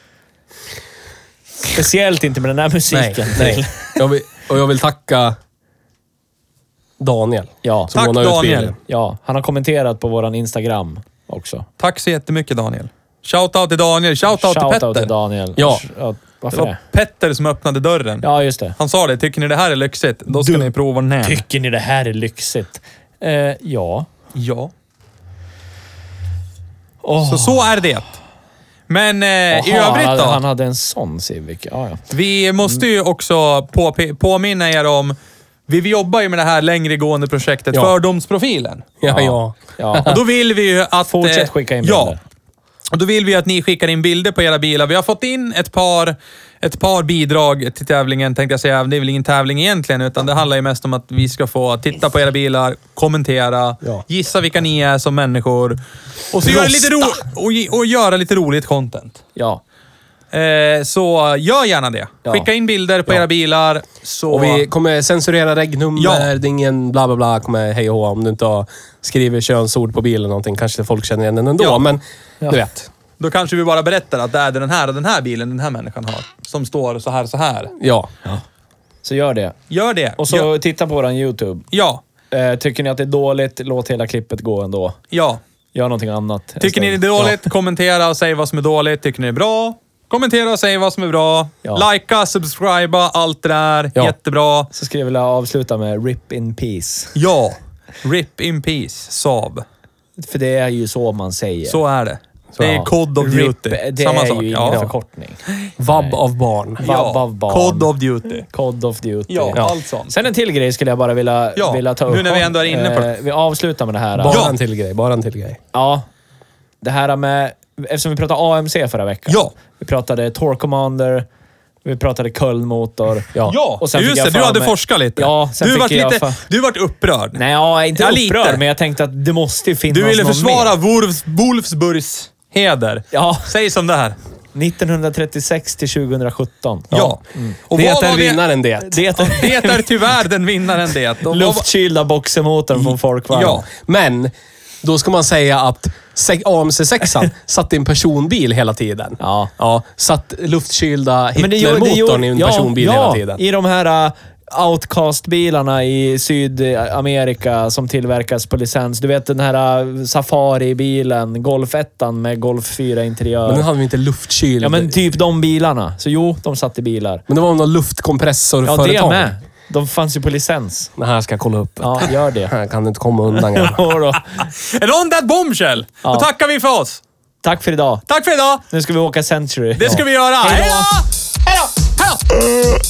A: Speciellt inte med den här musiken.
C: Nej. Jag vill, och jag vill tacka Daniel.
A: Ja.
C: som
B: Tack,
C: lånade ut
B: Daniel.
C: bilen.
A: Ja, han har kommenterat på våran Instagram också.
B: Tack så jättemycket Daniel. Shoutout till Daniel, shoutout till
A: Shoutout
B: Petter.
A: till Daniel.
C: Ja.
B: Det
A: Varför
B: var
A: det?
B: Petter som öppnade dörren.
A: Ja, just det.
B: Han sa det, tycker ni det här är lyxigt, då ska ni prova NAN.
A: Tycker ni det här är lyxigt? Eh, ja.
B: Ja.
A: Åh.
B: Så så är det. Men eh, i
A: Aha,
B: övrigt
A: han,
B: då?
A: han hade en sån Civic. Ja, ja.
B: Vi måste ju också på, påminna er om, vi, vi jobbar ju med det här längregående projektet
C: Ja.
B: Fördomsprofilen.
C: Ja, ja.
A: ja.
B: Och då vill vi ju att...
A: Fortsätt
B: eh,
A: skicka in
B: Ja.
A: bilder.
B: Och då vill vi att ni skickar in bilder på era bilar. Vi har fått in ett par, ett par bidrag till tävlingen, tänkte jag säga. Det är väl ingen tävling egentligen, utan det handlar ju mest om att vi ska få titta på era bilar, kommentera,
C: Ja.
B: gissa vilka ni är som människor. Och, så göra lite, ro- och, ge- och göra lite roligt content.
A: Ja.
B: Eh, så gör gärna det.
A: Ja.
B: Skicka in bilder på era bilar. Så...
C: Och vi kommer censurera regnummer,
B: Ja.
C: det är ingen bla bla bla, kommer hej och hå om du inte har skrivit könsord på bilen eller någonting. Kanske folk känner igen den ändå,
B: Ja.
C: men
A: Ja.
C: du vet.
B: Då kanske vi bara berättar att det är den här och den här bilen den här människan har. Som står så här så här.
C: Ja.
A: Så gör det.
B: Gör det.
A: Och så
B: Ja.
A: titta på våran YouTube.
B: ja.
A: Eh, tycker ni att det är dåligt, låt hela klippet gå ändå.
B: ja.
A: Gör någonting annat. en
B: Tycker ni det är
A: stund.
B: dåligt, kommentera och säg vad som är dåligt. Tycker ni det är bra, kommentera och säg vad som är bra.
A: Ja.
B: Likea, subscriba, allt det där.
C: Ja.
B: Jättebra.
A: Ja. Så skulle jag vilja avsluta med RIP in peace.
B: Ja. RIP in peace, Saab.
A: För det är ju så man säger.
B: Så är det.
A: Så,
B: Det är
A: ja.
B: Code of
A: RIP,
B: Duty.
A: Det
B: Samma
A: är
B: sak.
A: ju ingen
B: ja.
A: förkortning.
C: Vabb av barn.
A: Vabb
B: Ja.
A: av barn.
B: Code of Duty.
A: Cod of Duty.
B: Ja, allt sånt.
A: Sen en till grej skulle jag bara vilja,
B: Ja,
A: vilja ta upp.
B: nu när vi ändå är inne på det.
A: Eh, Vi avslutar med det här.
C: Bara
B: Ja.
C: en till grej, bara en till grej.
A: Ja. Det här med... Eftersom vi pratade AMC förra veckan.
B: Ja.
A: Vi pratade Tor Commander. Vi pratade Kölnmotor.
B: Ja,
A: Och sen fick
B: just
A: jag
B: det. Du
A: för
B: hade
A: mig-
B: forskat lite.
A: Ja, sen
B: du
A: fick
B: vart
A: jag
B: lite,
A: för-
B: Du vart upprörd.
A: Nej, jag är inte
B: Ja, lite.
A: upprörd, men jag tänkte att det måste ju finnas
B: Du ville
A: någon
B: försvara
A: mer.
B: Wolfs, Wolfsburgs heder.
A: Ja.
B: Säg som det här.
A: 1936 till 2017.
B: Ja. Mm. Och
C: Det
B: vad
C: är
B: var
C: vinnaren det.
A: Det är
B: Det är tyvärr den vinnaren det. Och vad-
A: luftkylda boxermotorn från Folkvagn.
B: Ja.
C: Men då ska man säga att se- AMC6 satt i en personbil hela tiden.
A: Ja.
C: ja satt luftkylda
A: Men det gjorde- det
C: Hitlermotorn i en
A: gjorde- ja,
C: personbil
A: ja,
C: hela tiden.
A: i de här uh, Outcast-bilarna i Sydamerika som tillverkas på licens. Du vet den här uh, Safari-bilen, Golf 1 med Golf 4 interiör.
C: Men den hade vi inte luftkyld.
A: Ja, men typ de bilarna. Så jo, de satt i bilar.
C: Men det var någon luftkompressorföretag.
A: Ja, det med. De fanns ju på licens.
C: Det här ska jag kolla upp.
A: Ja, gör det.
C: Här kan du inte komma undan. grabbar.
A: Jo då.
B: En on that bombshell!
A: Ja.
B: Då tackar vi för oss.
A: Tack för idag.
B: Tack för idag!
A: Nu ska vi åka Century.
B: Det ska vi göra. Hej då! Hej då! Hej då!